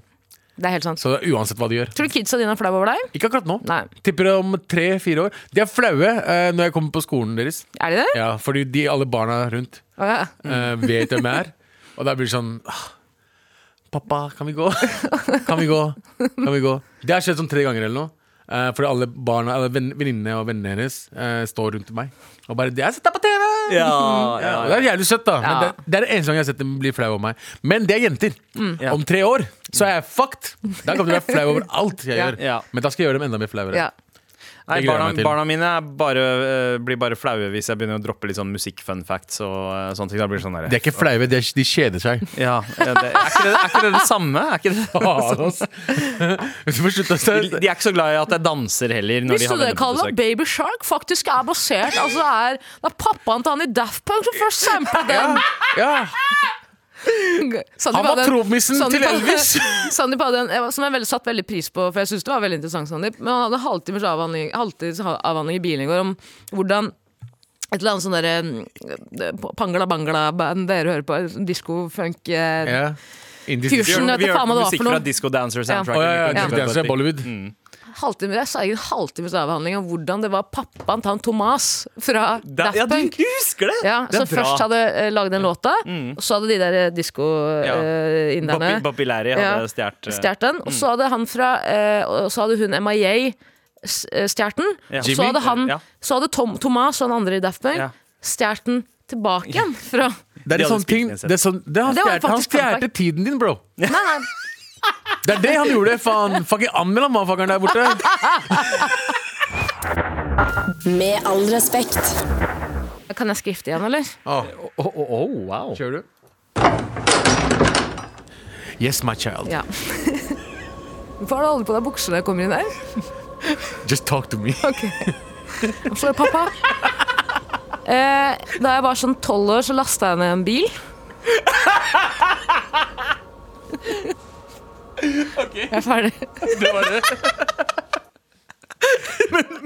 D: Det er helt sant
C: Så det er uansett hva de gjør.
D: Tror du kidsa dine er flau over deg?
C: Ikke akkurat nå.
D: Nei,
C: Tipper det om tre-fire år. De er flaue eh, når jeg kommer på skolen deres.
D: er de det?
C: Ja, fordi de, alle barna rundt
D: Å, ja.
C: eh, vet hvem jeg er. Og da blir det sånn «Ah, Pappa, kan vi gå? Kan vi gå? Kan vi gå? Det har skjedd sånn tre ganger eller noe. Eh, fordi alle barna, alle venn- venninnene og vennene hennes eh, står rundt meg. Og bare 'Jeg sitter på TV!'
B: Ja,
C: Ja, og Det er jævlig søtt, da. Men
D: Ja.
C: det, det er det eneste gang jeg har sett dem bli flau over meg. Men det er jenter.
B: Ja.
C: Om tre år så er jeg fucked! Da kommer de til å være flau over alt jeg
D: Ja.
C: gjør.
B: Ja.
C: Men da skal jeg gjøre dem enda mer flauere.
D: Ja.
B: Nei,
C: Det gleder jeg
B: barna,
C: meg til.
B: barna mine er bare, eh, blir bare flaue hvis jeg begynner å droppe litt sånn musikk-fun facts og eh, sånne ting. Da blir det sånn der,
C: De er ikke flaue, de, er- de kjeder seg.
B: ja, ja, det, er, ikke det, er ikke det det samme? Er ikke det?
C: Faen, ass. Hvis du får slutte å
B: De er ikke så glad i at jeg danser heller. Når de
D: Visste du
B: har
D: det,
B: venner på
D: Kalle?
B: besøk.
D: Baby Shark faktisk er basert Altså er, det er pappaen til han i Daft Punk Som først samplet den
C: Ja.
D: Sandeep
C: Han var
D: hadde en-
C: trommisen til
D: Sandeep hadde-
C: Elvis.
D: Sandeep hadde en jeg- som jeg veldig, satt veldig pris på, for jeg synes det var veldig interessant, Sandeep. Men han hadde halvtimers avhandling, halvtimes avhandling i bilen i går om hvordan et eller annet sånn derre pangla-bangla-band dere hører på, disko-funk eh,
C: ja. Indisk-
D: Fusion. Skjønner at det
B: Vi
D: faen meg det
B: hørte
D: var
B: musikk
D: for noe.
B: fra Disco Dancer
C: Å, ja, ja,
B: soundtracken.
C: Indisk danser er Bollywood.
D: halvtime, det er så egen halvtimes avhandling om hvordan det var pappaen til han Thomas fra
B: Da,
D: Daft
B: ja, du,
D: Punk.
B: du husker det!
D: Ja,
B: det
D: som først hadde eh, lagd den låta,
C: Mm.
D: og så hadde de der eh,
B: Ja.
D: disko-inderne
B: Bobby- Bobby Larry hadde stjert, eh,
D: den. Og så hadde han fra eh, Og så hadde hun MIA s- eh, stjert den.
B: Ja.
D: Så hadde, han,
B: Ja.
D: så hadde Tom, Thomas og han andre i Daft Punk
B: Ja.
D: stjert den tilbake igjen fra
C: Det er
B: De
C: en
B: hadde
C: sånn ting
B: spilt ned
C: det er sånn, det, Han
D: Det var
C: stjerte- han
D: faktisk fun
C: stjerte
D: fact.
C: tiden din, bro.
D: Nei, nei.
C: Det er det han gjorde. Faen, fucking anmeld han motherfuckeren der borte.
A: Med all respekt.
D: Kan jeg skrifte igjen, eller?
B: Å,
C: Oh,
B: å, å, wow.
C: Kjører du? Yes, my child.
D: Ja. Hva har du holdt på deg bukser når jeg kommer inn her?
C: Just talk to me.
D: Og så er pappa. Eh, da jeg var sånn tolv år, så lasta jeg ned en bil. Jeg er ferdig.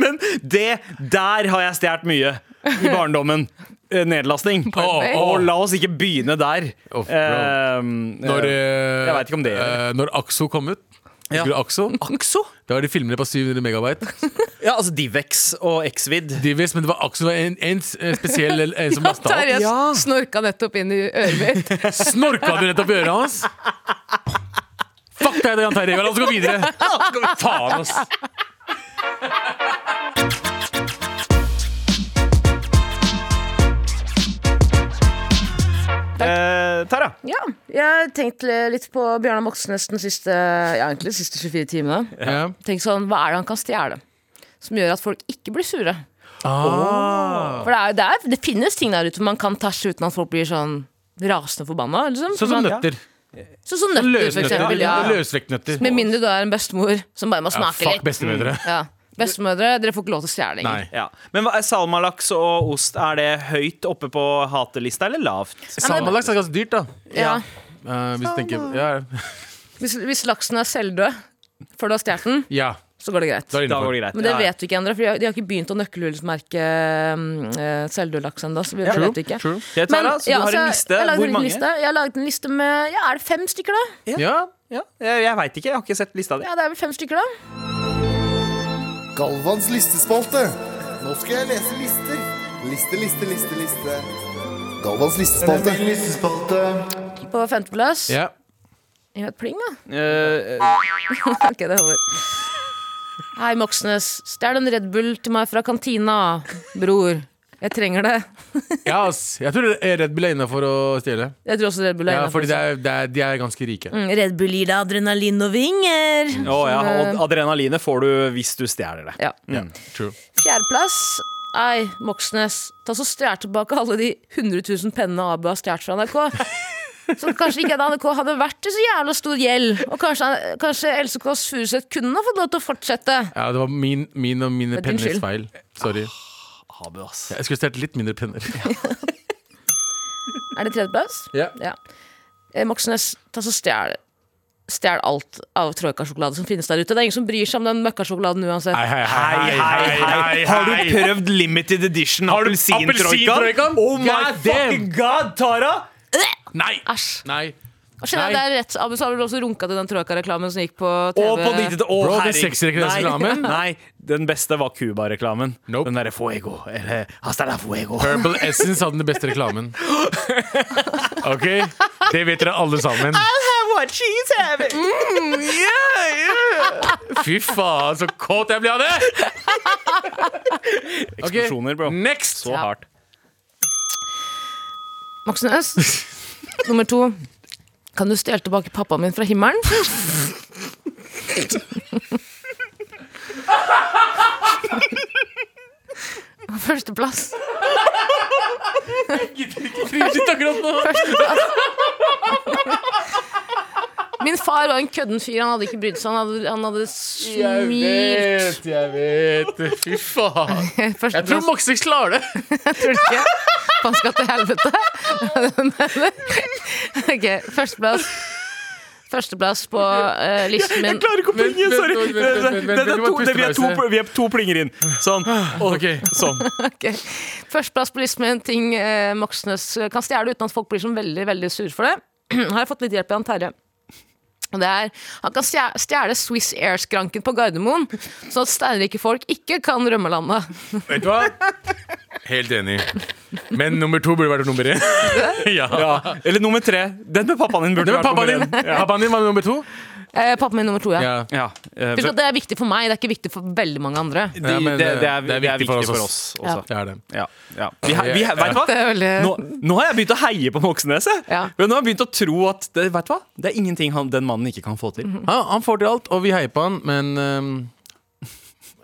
B: Men det der har jeg stjålet mye i barndommen. Eh, Nedlasting.
C: Perfekt.
B: Og- og la oss ikke begynne der.
C: Uff, bro.
B: Ehm,
C: Når,
B: eh,
C: eh,
B: Jeg vet ikke om det gjør
C: eh, Når Axo kom ut
B: Ja.
C: Skulle Axo
B: Akso?
C: Da var de filmene på 700 megabyte
B: Ja, altså Divex og Xvid.
C: Divis, men det var Axo det var en, en s- eh, spesiell en som lastet opp
D: Terje
B: Ja.
D: snorka nettopp inn i øret mitt.
C: Snorka du nettopp i øret hans? Fuck deg, Jan Terje. La oss gå videre. Faen, ass.
B: Eh, Tara,
D: Ja, jeg tenkte litt på Bjørnar Moxnes den siste, ja, egentlig de siste 24 timene.
C: Ja.
D: Tenk sånn, Hva er det han kan stjele som gjør at folk ikke blir sure?
C: Ah.
D: For det, er, det, er, det finnes ting der ute man kan tæsje uten at folk blir sånn rasende forbanna. Liksom.
C: Sånn som
D: Man-
C: nøtter.
D: Sånn som nøtter, for
C: Løsnøtter.
D: eksempel. Ja.
C: Løsvektnøtter.
D: Med mindre du er en bestemor som bare må
C: Ja,
D: smake
C: fuck
D: litt.
C: bestemødre.
D: Ja. Bestemødre, dere får ikke lov til å stjele lenger.
C: Nei.
B: ja. Men hva, er salmalaks og ost, er det høyt oppe på hatelista eller lavt?
C: Salmalaks er ganske dyrt, da.
D: Ja.
C: Eh, hvis du tenker ja,
D: Hvis, hvis laksen er selvdød før du har stjålet den,
C: ja,
D: så går det greit.
C: da er det
B: Da går
C: innenfor.
B: det greit.
D: Men det
B: Ja, ja.
D: vet du ikke ennå, for de har, de har ikke begynt å nøkkelhullsmerke mm, eh, selvdødlaks ennå. Så vi det vet vi ikke.
C: True.
B: Ok, Tara, så du
D: ja,
B: har
D: så
B: en
D: jeg-
B: liste.
D: jeg har laget
B: Hvor
D: en
B: mange?
D: Liste. Jeg har laget en liste med ja, Er det fem stykker, da?
C: Ja.
B: Ja, jeg jeg veit ikke. Jeg har ikke sett lista di.
D: Ja, det er vel fem stykker, da.
F: Galvans listespalte. Nå skal jeg lese lister. Liste, liste, liste, liste. Galvans listespalte.
D: På femteplass.
C: ja.
D: Jeg vet pling, da.
B: Eh,
D: Ok, det holder. Hei, Moxnes. Stjel en Red Bull til meg fra kantina, bror. Jeg trenger det.
C: ja ass. Jeg tror Red Bull er innafor å stjele.
D: Jeg tror også Red Bull er
C: Ja,
D: innenfor.
C: fordi det er, det er, de er ganske rike.
D: Mm, Red Bull gir deg adrenalin og vinger.
B: Å ja, og adrenalinet får du hvis du stjeler det.
D: Ja.
C: True.
D: Fjerdeplass. Ei, Moxnes. Ta så Stjel tilbake alle de 100 000 pennene Abu har stjålet fra NRK. Så kanskje ikke NRK hadde vært i så jævla stor gjeld. Og kanskje, kanskje Else Kåss Furuseth kunne ha fått lov til å fortsette.
C: Ja, det var min, min og mine
D: Det er din
C: penners
D: skyld.
C: feil. Sorry. Ah,
B: Abu, ass.
C: Jeg skulle stjålet litt mindre penner.
D: Er det tredjeplass?
C: Ja.
D: Ja. Eh, Moxnes, ta så stjel Stjel alt av Troika-sjokolade som finnes der ute. Det er ingen som bryr seg om den møkkasjokoladen uansett.
C: Hei, hei,
B: Hei, hei, hei, Har du prøvd limited edition
C: du
B: appelsintroikaen?
C: appelsintroikaen?
B: Oh my
C: God
B: fucking god, Tara!
C: Nei!
D: Æsj.
C: Nei.
D: Og skjønner jeg,
C: Nei.
D: det er rett, Abu Sabel også runka til den Troika-reklamen som gikk på TV.
B: Og på 90-tallet Å,
C: Bro, den
B: herregud.
C: sexreklamen.
B: Nei, nei, den beste var Cuba-reklamen.
C: Nope.
B: Den derre fuego. Eller hasta la fuego.
C: Purple Essence hadde den beste reklamen. Ok? Det vet dere alle sammen. Fy faen, så kåt jeg blir av det! Ok,
B: Eksplosjoner, bro.
C: Next!
B: Så hardt.
D: Moxnes, nummer to. Kan du stjele tilbake pappaen min fra himmelen? På Førsteplass. Min far var en kødden fyr. Han hadde ikke brydd seg. Han hadde, han hadde smilt.
C: jeg vet. Fy faen. Jeg tror
D: Førsteplass.
C: Moxix klarer det.
D: Tror du ikke? Faen skal til helvete. ok, førsteplass. Førsteplass på eh, listen min.
B: Klarer ikke å plinge,
C: Vent, vent,
B: sorry!
C: vent, vent, vent, vent,
B: Det- det- det
C: du
B: er
C: må
B: to- det- Vi er to-
C: pustepause.
B: vi er to plinger inn. Sånn. Og,
C: Ok.
B: sånn.
D: Ok. Førsteplass på listen min. Ting eh, sånn Moxnes kan stjele uten at folk blir så veldig veldig sur for det. Har jeg fått litt hjelp av Terje. Og det er, han kan stjæ- stjele Swiss Air-skranken på Gardermoen, sånn at steinrike folk ikke kan rømme landet.
C: Vet du hva? Helt enig. Men nummer to burde vært nummer én. ja.
B: Ja. Eller nummer tre. Den med pappaen din burde
C: Det var
B: vært
C: pappaen din.
B: nummer én. Ja.
C: Pappaen din var nummer to.
D: Eh, Pappa min nummer to, ja.
C: Ja.
B: Ja, eh,
D: Husk at det er viktig for meg, det er ikke viktig for veldig mange andre.
B: de,
C: Ja, men
B: det, det, er,
C: eh, det er viktig for oss også.
B: også.
C: Det er det.
B: Ja. Ja. Vi, he- vi, he- vet du hva?
D: Det er veldig-
B: Nå, nå har jeg begynt å heie på Moxnes. jeg.
D: Ja.
B: Men nå har jeg begynt å tro at det, vet du hva? det er ingenting han, den mannen ikke kan få til.
D: Mhm.
C: Han, han får til alt, og vi heier på han, men ehm,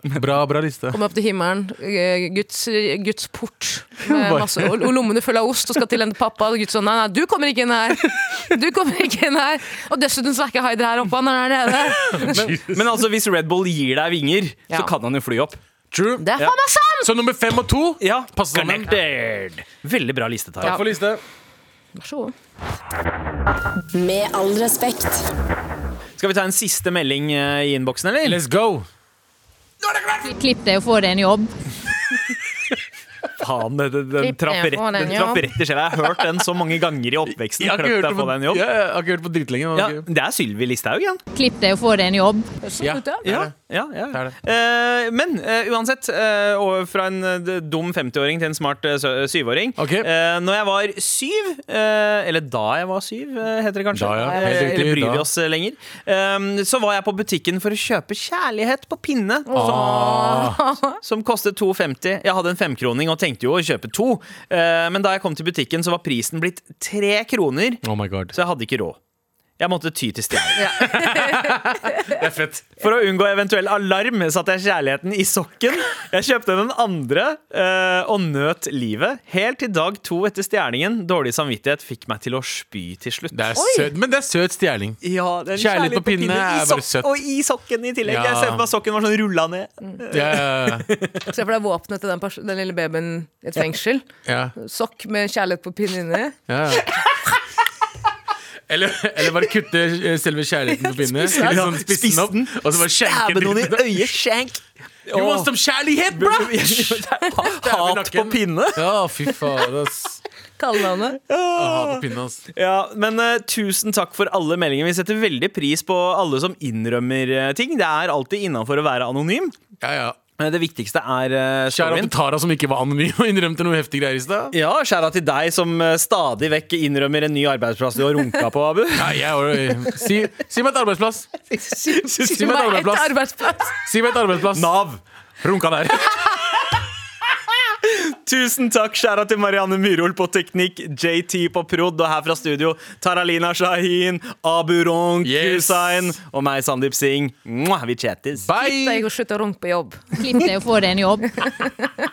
C: Bra, bra liste.
D: Kommer opp til himmelen, eh, Guds, Guds port med masse, og, og lommene fulle av ost, og skal til en pappa. Og Gud sånn, nei, nei, du kommer ikke inn her! Du kommer ikke inn her! Og dessuten så er ikke Haider her oppe, han er der nede!
B: Men altså, hvis Red Bull gir deg vinger,
D: Ja.
B: så kan han jo fly opp.
C: True.
D: Det er faen meg sant!
C: Så nummer fem og to.
B: Ja,
C: Passe sammen.
B: Connected. Veldig bra liste, Tara.
D: Ja.
C: For liste.
D: Vær så god.
A: Med all respekt.
B: Skal vi ta en siste melding eh, i innboksen, eller?
C: Let's go.
E: Klipp deg og få deg en jobb.
B: Faen, det- det- den
D: Klipp
B: traff
D: ned
B: rett,
D: på den
B: den traff rett i sjela. Jeg har hørt den så mange ganger i oppveksten.
C: Jeg har ikke
B: Kløpp
C: hørt
B: deg
C: det på,
B: på den jobb.
C: Ja, jeg har ikke hørt på dritlenge.
B: Ja,
C: Ja.
B: det er Sylvi Listhaug igjen.
E: Klipp deg og få deg en jobb.
C: Ja.
B: Ja,
C: det.
B: ja, ja.
C: Det er det.
B: Eh, men eh, uansett, eh, og fra en eh, d- dum 50-åring til en smart eh, sø- syvåring
C: Ok.
B: Eh, Når jeg var syv, eh, eller da jeg var syv, eh, heter det kanskje.
C: Da, ja. Helt
B: Eh,
C: riktig,
B: eller bryr
C: da.
B: vi oss eh, lenger. Eh, så var jeg på butikken for å kjøpe kjærlighet på pinne.
C: Ah.
B: Som, som kostet 2,50. Jeg hadde en femkroning og tenkte jo å kjøpe to. Eh, men da jeg kom til butikken, så var prisen blitt tre kroner,
C: Oh my god.
B: så jeg hadde ikke råd. Jeg måtte ty til stjerne.
C: Det er fett.
B: For å unngå eventuell alarm satte jeg kjærligheten i sokken. Jeg kjøpte den andre eh, og nøt livet. Helt til dag to etter stjerningen. Dårlig samvittighet fikk meg til å spy til slutt.
C: Det er søt, men det er søt stjerning.
B: Ja, det er en
C: Kjærlighet på pinne
B: i
C: er bare
B: sokk-
C: søtt.
B: Og i sokken i tillegg.
C: Ja.
B: Jeg ser for meg sokken var sånn rulla ned.
C: Ja, ja, ja.
D: Se for deg våpenet til den, pers- den lille babyen i et fengsel.
C: ja.
D: Sokk med kjærlighet på pinnen inni.
C: ja. Eller, eller bare kutte eh, selve kjærligheten på pinnen. Eller sånn spisse den opp, og så bare skjenke
B: Dæve noen i
C: dritten.
B: øyet. Skjenk!
C: You want some kjærlighet, bro?
B: Hat på pinne.
C: Ja, fy faen, ass.
D: Kallenavnet.
C: Jeg hater pinne, ass.
B: Ja, men eh, tusen takk for alle meldinger. Vi setter veldig pris på alle som innrømmer eh, ting. Det er alltid innafor å være anonym.
C: Ja, ja.
B: Eh, Det viktigste er eh,
C: Kjære
B: storyen.
C: til Tara som ikke var anonym og innrømte noe heftige greier i stad.
B: Ja, skjæra til deg som eh, stadig vekk innrømmer en ny arbeidsplass du har runka på, Abu.
C: Nei, jeg var- Si, si meg et arbeidsplass. Si meg et
D: Meg et
C: arbeidsplass.
D: arbeidsplass.
C: Si meg et arbeidsplass.
B: Nav.
C: Runka der.
B: Tusen takk, skjæra til Marianne Myrhol på teknikk, JT på prod, og her fra studio Taralina Shahin, Abu Ronk,
C: Yes.
B: Hussein og meg, Sandeep Singh. Mwah, Vi chattis.
D: Da
C: Bye!
D: gikk og slutta å runke på jobb.
E: Klipp deg og få deg en jobb.